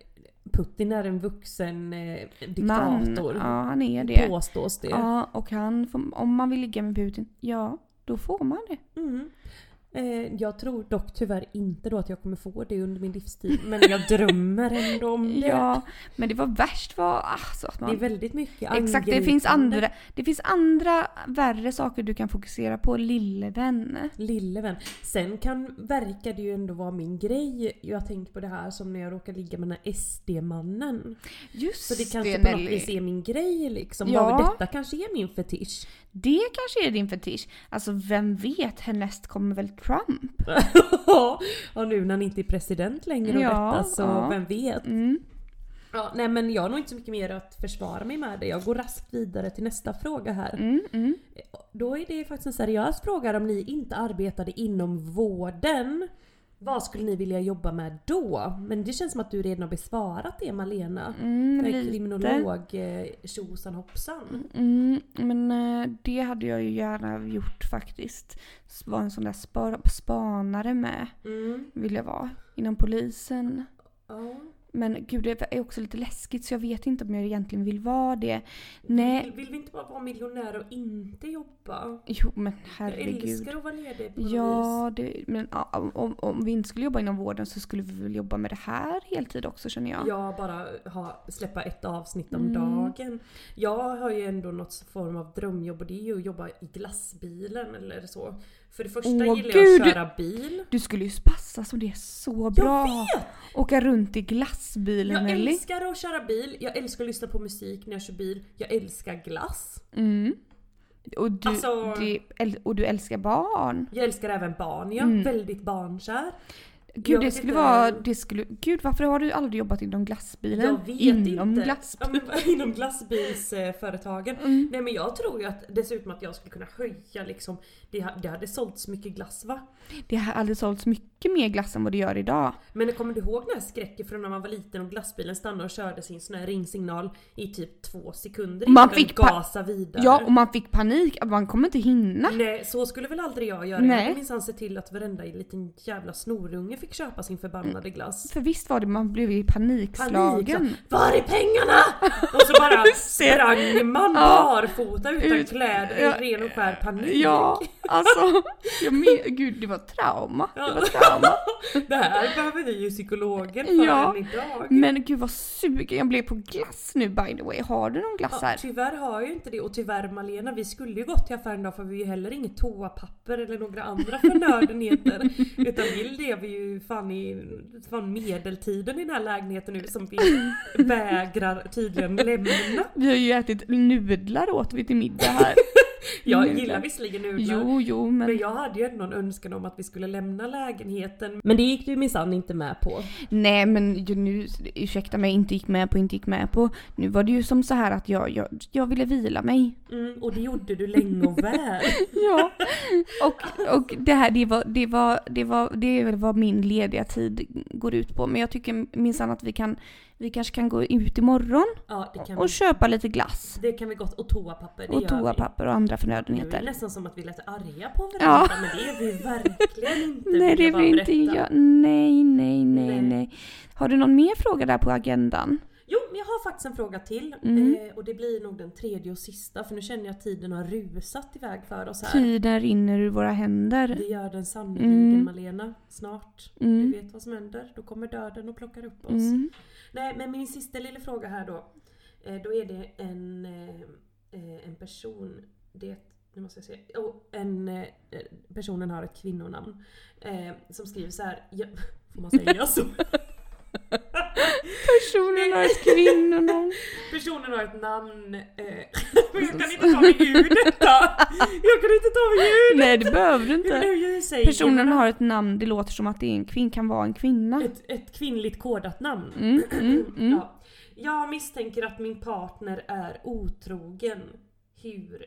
S1: Putin är en vuxen eh,
S2: Man,
S1: diktator.
S2: ja han är det.
S1: Påstås det.
S2: Ja, och han får, om man vill ligga med Putin, ja, då får man det.
S1: Mm. Eh, jag tror dock tyvärr inte då att jag kommer få det under min livstid. Men jag drömmer ändå om det.
S2: Ja, men det var värst vad, alltså att
S1: Det är
S2: man...
S1: väldigt mycket
S2: Exakt, det finns,
S1: angripande.
S2: andra, det finns andra värre saker du kan fokusera på, lille vän.
S1: Lille vän. Sen kan, verkar det ju ändå vara min grej. Jag har tänkt på det här som när jag råkar ligga med den här SD-mannen.
S2: Just
S1: Så det kanske
S2: det
S1: på något vis
S2: Nelly.
S1: är min grej liksom.
S2: Ja.
S1: Bara, detta kanske är min fetisch.
S2: Det kanske är din fetisch. Alltså vem vet, härnäst kommer väl Trump?
S1: och nu när han inte är president längre och
S2: Ja,
S1: detta så
S2: ja.
S1: vem vet.
S2: Mm.
S1: Ja, nej men jag har nog inte så mycket mer att försvara mig med det. Jag går raskt vidare till nästa fråga här.
S2: Mm, mm.
S1: Då är det faktiskt en seriös fråga om ni inte arbetade inom vården Vad skulle ni vilja jobba med då? Men det känns som att du redan har besvarat det Malena.
S2: Mm,
S1: Den här
S2: lite.
S1: kriminolog eh, tjosan hoppsan.
S2: Mm, men eh, det hade jag ju gärna gjort faktiskt. S- Var en sån där spar- spanare med
S1: Mm.
S2: vill jag vara. Inom polisen.
S1: Ja.
S2: Men gud det är också lite läskigt så jag vet inte om jag egentligen vill vara det. Nej.
S1: Vill, vill vi inte bara vara miljonärer och inte jobba?
S2: Jo men
S1: Jag
S2: herregud.
S1: älskar att vara ledig på något vis.
S2: Ja, det, men ja, om, om vi inte skulle jobba inom vården så skulle vi väl jobba med det här heltid också känner jag.
S1: Jag bara ha, släppa ett avsnitt
S2: Mm.
S1: om dagen. Jag har ju ändå något form av drömjobb och det är ju att jobba i glassbilen eller så. För det första
S2: Åh,
S1: gillar
S2: gud!
S1: jag att köra bil.
S2: Du skulle ju passa som det är så bra. Åka runt i glassbilen
S1: Jag
S2: Nelly.
S1: älskar att köra bil, jag älskar att lyssna på musik när jag kör bil, jag älskar glass.
S2: Mm. Och du,
S1: Alltså-
S2: det, äl- och du älskar barn.
S1: Jag älskar även barn, jag är väldigt barnkär. Jag
S2: Mm. Gud, det
S1: vet
S2: skulle
S1: inte.
S2: vara, det skulle, gud varför har du aldrig jobbat inom glassbilen?
S1: Jag vet
S2: inom
S1: inte.
S2: glassbilen.
S1: Ja, men, inom glassbilsföretagen.
S2: Mm.
S1: Nej men jag tror ju att dessutom att jag skulle kunna höja liksom, det, ha- det hade sålts mycket glass va?
S2: Det har aldrig sålts mycket mer glass än vad det gör idag.
S1: Men kommer du ihåg den här skräcken från när man var liten och glassbilen stannade och körde sin sån här ringsignal i typ två
S2: Man
S1: sekunder innan den
S2: fick pa-
S1: gasa vidare?
S2: Ja, och man fick panik att man kommer inte hinna.
S1: Nej, så skulle väl aldrig jag göra.
S2: Nej.
S1: Jag skulle minsann se till att varenda liten jävla snorunge fick köpa sin förbannade glass.
S2: För visst var det, man blev ju panikslagen.
S1: Panik, så, Var är pengarna? Och så bara sprang man
S2: Ja.
S1: barfota utan
S2: Ut-
S1: kläder
S2: Ja.
S1: i ren och skär panik.
S2: Ja, alltså. Jag men, gud, det var trauma. Det var
S1: Ja.
S2: trauma.
S1: Det här behöver vi ju psykologen för
S2: Ja.
S1: än idag.
S2: Men gud vad sugen jag blev på glass nu by the way. Har du någon glass
S1: Ja,
S2: här?
S1: tyvärr har jag ju inte det och tyvärr Malena, vi skulle ju gått till affären idag för vi har ju heller inget toapapper eller några andra förnödenheter. utan vi lever ju fan i fan medeltiden i den här lägenheten nu som vi vägrar tydligen lämna.
S2: Vi har ju ätit nudlar åt vi till middag här.
S1: Jag
S2: Nudlar.
S1: gillar visserligen nudlar.
S2: Jo, jo, men
S1: Men jag hade ju ändå en önskan om att vi skulle lämna lägenheten. Men det gick du minsann inte med på.
S2: Nej men ju nu, ursäkta mig, inte gick med på, inte gick med på. Nu var det ju som så här att jag, jag, jag ville vila mig.
S1: Mm, och det gjorde du länge och väl.
S2: Ja. Och, och det här, det var, det var, det var, det är väl vad min lediga tid går ut på. Men jag tycker minsann att vi kan, vi kanske kan gå ut imorgon
S1: Ja, det kan vi.
S2: och köpa lite glass.
S1: Det kan vi gott. Och toapapper, det
S2: Och
S1: gör
S2: toapapper och andra
S1: vi. Nu är det
S2: förnödenheter.
S1: Mm, nästan som att vi lät arga på varandra,
S2: Ja.
S1: men det är vi verkligen inte.
S2: Nej
S1: vill
S2: det
S1: jag bara
S2: vill inte
S1: berätta.
S2: jag. Nej, nej, nej,
S1: Nej.
S2: nej. Har du någon mer fråga där på agendan?
S1: Jo, men jag har faktiskt en fråga till.
S2: Mm.
S1: Eh, och det blir nog den tredje och sista, för nu känner jag att tiden har rusat iväg för oss här.
S2: Tiden rinner ur våra händer.
S1: Det gör den sannerligen
S2: Mm.
S1: Malena, snart.
S2: Mm.
S1: Du vet vad som händer, då kommer döden och plockar upp oss.
S2: Mm.
S1: Nej, men min sista lilla fråga här då. Eh, Då är det en, eh, eh, en person, det, nu måste jag se, oh, en, eh, eh, personen har ett kvinnonamn. Eh, som skriver så här. Ja, får man säga så?
S2: Personen har ett kvinnonamn.
S1: Personen har ett namn, eh, men jag kan inte ta mig ur detta! Jag kan inte ta mig ur detta!
S2: Nej det behöver du
S1: Hur,
S2: inte.
S1: hur säger
S2: Personen
S1: man?
S2: har ett namn, det låter som att det är en kvinn, kan vara en kvinna.
S1: ett, ett kvinnligt kodat namn.
S2: Mm, mm, mm.
S1: Ja. Jag misstänker att min partner är otrogen. Hur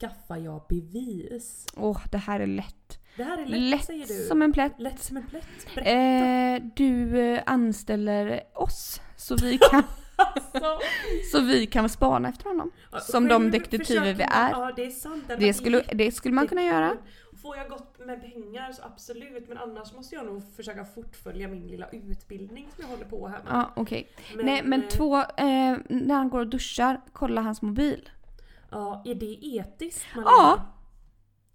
S1: skaffar jag bevis?
S2: Åh, det här är lätt.
S1: Det här är lätt, säger
S2: Lätt
S1: du.
S2: som en plätt.
S1: lätt som en plätt. Berätta.
S2: Eh, du eh, anställer oss så vi kan,
S1: Alltså.
S2: så vi kan spana efter honom.
S1: Ja,
S2: Som de
S1: Alltså, själv
S2: detektiver vi
S1: försöker-
S2: är.
S1: Ja, det är sant. hade
S2: Det
S1: varit
S2: skulle, det skulle man kunna göra.
S1: jättekul. Får jag gott med pengar så absolut, men annars måste jag nog försöka fortfölja min lilla utbildning som jag håller på här med.
S2: Ja, okej.
S1: Men,
S2: Nej men
S1: eh,
S2: två, eh, när han går och duschar, kolla hans mobil.
S1: Ja, är det etiskt?
S2: Ja.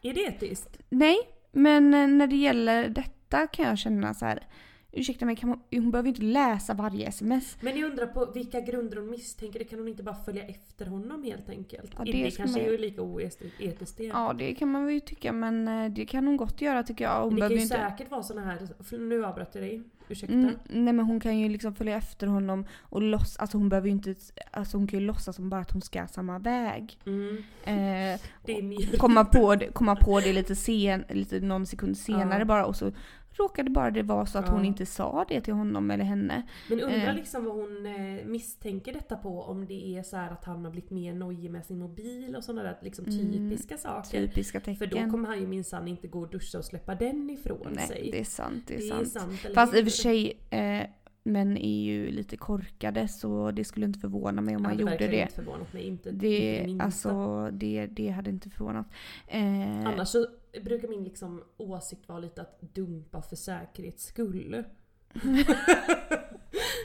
S1: Är det etiskt?
S2: Nej, men eh, när det gäller detta kan jag känna så här. Ursäkta mig, kan hon, hon behöver inte läsa varje sms.
S1: Men jag undrar på vilka grunder hon misstänker det. Kan hon inte bara följa efter honom helt enkelt?
S2: Ja,
S1: det
S2: det
S1: kanske
S2: skulle man-
S1: är lika oetiskt etiskt det.
S2: Ja, det kan man ju tycka, men eh, det kan hon gott göra tycker jag. Hon
S1: Men det kan
S2: behöver
S1: ju
S2: ju inte...
S1: säkert vara såna här... för Nu avbröt jag dig. Ursäkta.
S2: Mm, nej men hon kan ju liksom följa efter honom och låtsas, alltså hon behöver ju inte, alltså hon kan ju låtsas som bara att hon ska samma väg.
S1: Mm.
S2: Eh,
S1: Det är mer...
S2: komma, på det, komma på det lite sen, lite någon sekund senare bara och så råkade bara det vara så att
S1: Ja.
S2: hon inte sa det till honom eller henne.
S1: Men undrar
S2: Eh.
S1: liksom vad hon eh, misstänker detta på. Om det är så här att han har blivit mer nojig med sin mobil och sådana där liksom
S2: Mm.
S1: typiska saker.
S2: Typiska
S1: För
S2: tecken.
S1: då kommer han ju minsann inte gå och duscha och släppa den ifrån
S2: Nej,
S1: sig.
S2: det är sant. Det är
S1: Det är
S2: sant.
S1: sant, eller
S2: Fast i och
S1: hur?
S2: för sig, eh, män är ju lite korkade så det skulle inte förvåna mig om han
S1: hade
S2: gjorde
S1: verkligen
S2: det.
S1: inte förvånat mig. Inte, inte
S2: Det,
S1: minsta.
S2: alltså, det, det hade inte förvånat. Eh,
S1: Annars så brukar min liksom åsikt vara lite att dumpa för säkerhets skull.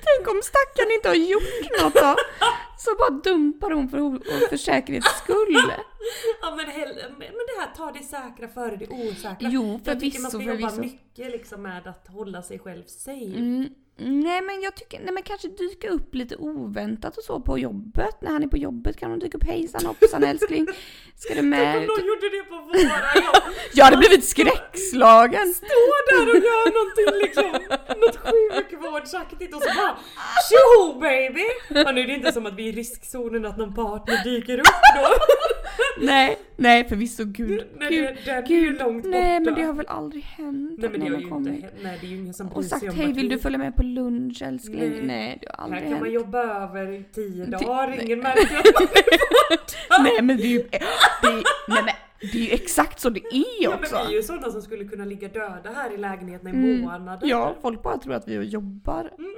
S2: Tänk om stackaren inte har gjort något då? Så bara dumpar hon för, och för säkerhets skull.
S1: Ja men, hell- men det här ta det säkra före det osäkra.
S2: Jo,
S1: Jag tycker
S2: förvisso,
S1: man ska jobba
S2: förvisso.
S1: mycket liksom med att hålla sig själv safe.
S2: Mm, nej men jag tycker, nej men kanske dyka upp lite oväntat och så på jobbet. När han är på jobbet kan hon dyka upp hejsan hoppsan älskling. Ska du med?
S1: Tänk om de gjorde det på våra jobb.
S2: Jag hade blivit skräckslagen.
S1: Stå där och gör någonting liksom, något sjukvårdsaktigt och så bara tjoho baby! Ja, nu är det inte som att vi är i riskzonen att någon partner dyker upp då.
S2: Nej, nej förvisso gud.
S1: Nej,
S2: gud,
S1: det- det är ju
S2: gud.
S1: långt
S2: Nej
S1: borta.
S2: men det har väl aldrig hänt
S1: Nej men det
S2: någon
S1: har
S2: har
S1: ju inte
S2: kommit.
S1: hänt. Nej det är ju ingen som bryr
S2: Och
S1: sig
S2: sagt
S1: om
S2: hej
S1: att
S2: vill
S1: vi-
S2: du följa med på lunch älskling?
S1: Nej.
S2: Nej, det har
S1: Här
S2: aldrig
S1: kan
S2: hänt.
S1: man jobba över i tio
S2: Det-
S1: dagar,
S2: nej.
S1: ingen märker att man är borta.
S2: Nej men det är ju, det är, nej, men det är ju exakt så det är
S1: Ja, men
S2: också.
S1: vi är ju sådana som skulle kunna ligga döda här i lägenheten i månader.
S2: Mm. Ja, folk bara tror att vi jobbar.
S1: Mm.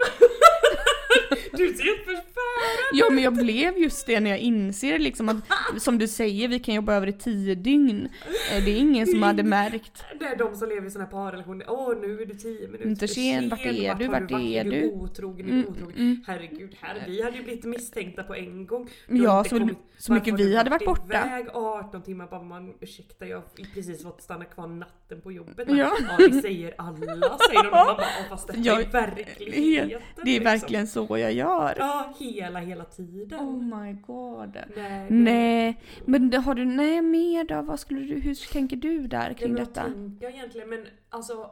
S1: Du ser ut förfärad!
S2: Ja men jag blev just det när jag inser liksom att som du säger, vi kan jobba över i tio dygn. Eh, Det är ingen som
S1: Mm.
S2: hade märkt.
S1: Det är de som lever i sådana parrelationer. Åh nu är du tio minuter
S2: Inte sen, vart är du?
S1: har
S2: Vart
S1: varit?
S2: är
S1: du?
S2: du? Mm,
S1: otrogen, är du otrogen. Herregud, herre, vi hade ju blivit misstänkta på en gång. Du
S2: Ja,
S1: har inte
S2: så- så mycket
S1: Varför har
S2: vi
S1: du
S2: hade varit borta?
S1: Iväg 18 timmar bara man ursäkta jag har precis fått stanna kvar natten på jobbet.
S2: Ja.
S1: Ja, det säger alla säger de. Man bara, "Åh, fast det
S2: Jag-
S1: är verkligheten.
S2: Det är
S1: liksom."
S2: verkligen så jag gör.
S1: Ja, hela hela tiden.
S2: Oh my god.
S1: Nej, det-
S2: Nej, men det- har du nej mer då? Vad skulle du, hur tänker du där
S1: Nej,
S2: kring
S1: men vad
S2: detta?
S1: tänker jag egentligen? Men alltså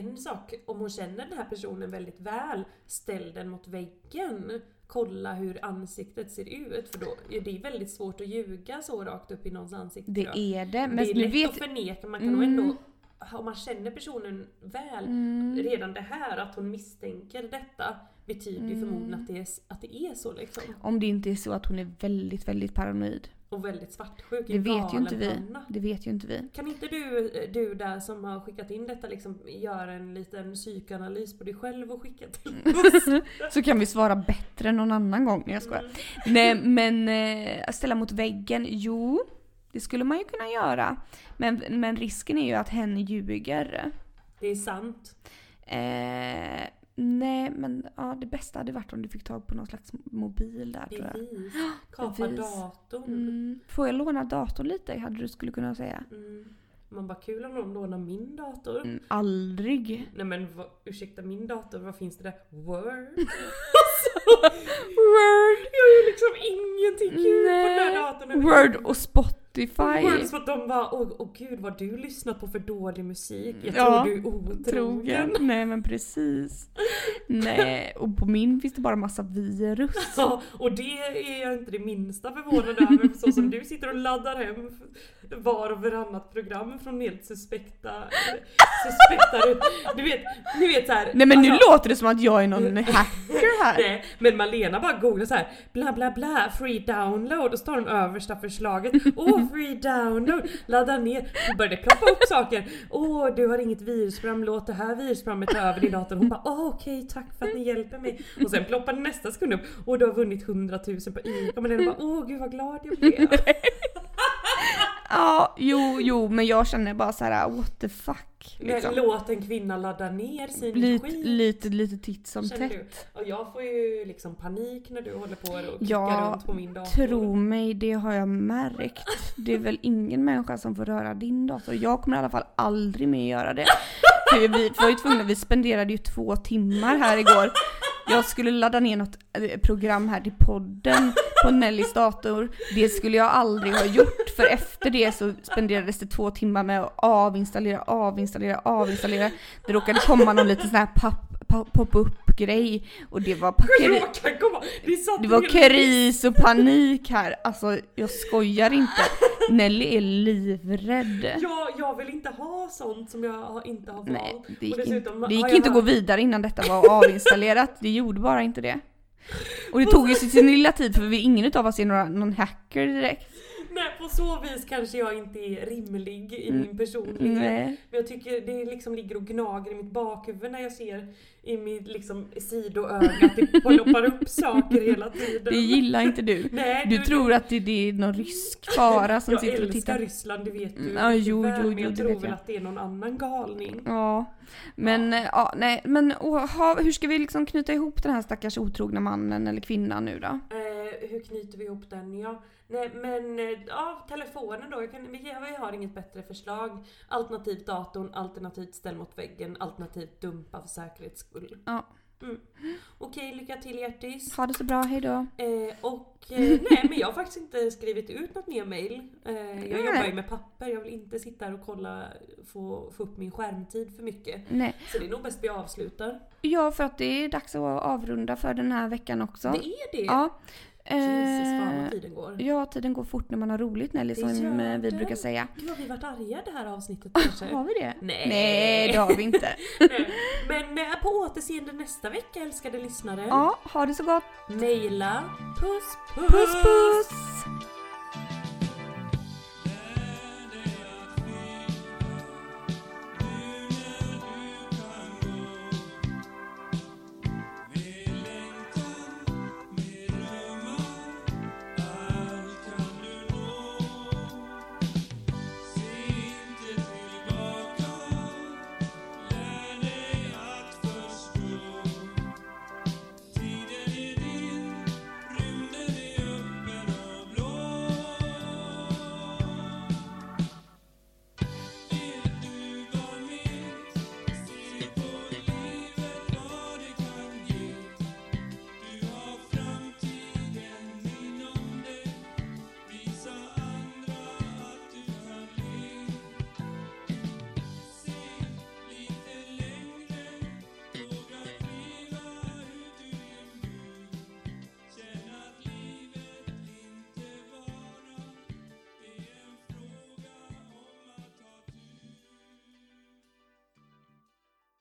S1: en sak, om hon känner den här personen väldigt väl, ställ den mot väggen. Kolla hur ansiktet ser ut för då är det väldigt svårt att ljuga så rakt upp i någons ansikte.
S2: Det
S1: då.
S2: är det, men
S1: det är
S2: nu vet...
S1: lätt
S2: Mm.
S1: att förneka, man kan nog ändå om man känner personen väl, redan det här att hon misstänker detta betyder ju förmodligen
S2: Mm.
S1: att det, är, att det är så liksom.
S2: Om det inte är så att hon är väldigt, väldigt paranoid.
S1: Och väldigt svartsjuk.
S2: Det vet ju inte vi.
S1: galenpanna.
S2: Det vet ju inte vi.
S1: Kan inte du, du där som har skickat in detta liksom göra en liten psykoanalys på dig själv och skicka till
S2: Mm.
S1: oss?
S2: Så kan vi svara bättre någon annan gång. Nej jag skojar.
S1: Mm.
S2: Nej men eh, ställa mot väggen, jo. Det skulle man ju kunna göra. Men, men risken är ju att hen ljuger.
S1: Det är sant.
S2: Eh, nej men ja, det bästa hade varit om du fick tag på någon slags mobil där tror jag.
S1: Bevis. Kapa
S2: Bevis.
S1: datorn.
S2: Mm. Får jag låna datorn lite hade du skulle kunna säga.
S1: Mm. Man bara kul om någon lånar min dator.
S2: Mm, aldrig.
S1: Nej men vad, ursäkta min dator, vad finns det där? Word?
S2: Mm. Word!
S1: Jag gör liksom ingenting kul på den här datorn.
S2: Word och Spotify.
S1: Word, så att de bara åh, åh gud vad du lyssnar på för dålig musik. Jag tror
S2: Ja,
S1: du är otrogen.
S2: Trogen. Nej men precis. Nej, och på min finns det bara massa virus.
S1: Ja, Alltså, och det är jag inte det minsta förvånad över för så som du sitter och laddar hem var och varannat program från helt suspekta... suspekta du vet, ni vet såhär...
S2: Nej men nu
S1: alltså-
S2: låter det som att jag är någon hacker här.
S1: Nej, men Malena bara googlar så här bla bla bla free download och så tar hon översta förslaget. Åh free download, ladda ner. Då började det ploppa upp saker. Åh du har inget virusprogram, låt det här virusprogrammet ta över din dator. Hon bara åh okej tack för att ni hjälper mig. Och sen ploppade nästa sekund upp och du har vunnit 100 000 på ICA. Och Malena bara åh gud vad glad jag blev.
S2: Ja, jo, jo, men jag känner bara så här: what the fuck.
S1: Men
S2: Liksom.
S1: Låt en kvinna ladda ner sin
S2: Lite,
S1: skit.
S2: lite, lite titt som
S1: Känner
S2: tätt.
S1: du? Och jag får ju liksom panik när du håller på och klickar
S2: Ja,
S1: runt på min dator.
S2: Tro mig, det har jag märkt. Det är väl ingen människa som får röra din dator. Jag kommer i alla fall aldrig mer göra det. För vi var ju tvungna, vi spenderade ju två timmar här igår. Jag skulle ladda ner något eh, program här till podden på Nellys dator. Det skulle jag aldrig ha gjort för efter det så spenderades det två timmar med att avinstallera, avinstallera, avinstallera. Det råkade komma någon liten sån här papp po- pop-up-grej och det var packeri.
S1: Råkar komma! Det satt
S2: Det var
S1: helt-
S2: kris och panik här. Alltså jag skojar inte. Nelly är livrädd.
S1: Jag, jag vill inte ha sånt som jag har- inte har valt.
S2: Nej, det gick,
S1: Och dessutom
S2: inte, det
S1: har
S2: gick
S1: jag
S2: inte att gå
S1: hört-
S2: vidare innan detta var avinstallerat. Det gjorde bara inte det. Och det tog ju sin lilla tid för vi, ingen av oss är några, någon hacker direkt.
S1: Nej, på så vis kanske jag inte är rimlig i min personlighet.
S2: Mm. Nej.
S1: Men jag tycker det liksom ligger och gnager i mitt bakhuvud när jag ser i mitt liksom sidoöga att det ploppar upp saker hela tiden.
S2: Det gillar inte du.
S1: Nej,
S2: Du tror att det, det är någon rysk fara som
S1: jag
S2: sitter och
S1: älskar
S2: tittar.
S1: Ryssland, det vet du.
S2: Mm, ja, jo,
S1: väl,
S2: jo,
S1: men
S2: jo,
S1: jag
S2: det
S1: tror
S2: vet
S1: väl
S2: jag.
S1: att det är någon annan galning.
S2: Ja, men eh, ja, nej, men och, ha, hur ska vi liksom knyta ihop den här stackars otrogna mannen eller kvinnan nu då?
S1: Eh, hur knyter vi ihop den? Ja, nej, men eh, ja, telefonen då. Jag kan, vi, vi har inget bättre förslag. Alternativt datorn, alternativt ställ mot väggen, alternativt dumpa för säkerhets skull.
S2: Ja.
S1: Mm. Okej, lycka till hjärtis.
S2: Ha det så bra, hejdå.
S1: Eh, och eh, nej men jag har faktiskt inte skrivit ut något mer mail. Eh, jag
S2: Nej.
S1: jobbar ju med papper, jag vill inte sitta här och kolla, få, få upp min skärmtid för mycket.
S2: Nej.
S1: Så det är nog bäst vi avslutar.
S2: Ja, för att det är dags att avrunda för den här veckan också.
S1: Det är det!
S2: Ja.
S1: Jesus fan
S2: Eh,
S1: vad tiden går.
S2: Ja, tiden går fort när man har roligt Nelly,
S1: Det
S2: som
S1: gör
S2: eh, vi
S1: den.
S2: brukar säga.
S1: Gud vad vi varit arga det här avsnittet kanske.
S2: Har vi det?
S1: Nej.
S2: Nej, det har vi inte.
S1: Nej. Men eh, på återseende nästa vecka älskade lyssnare.
S2: Ja, ha det så gott.
S1: Maila. Puss
S2: Puss puss!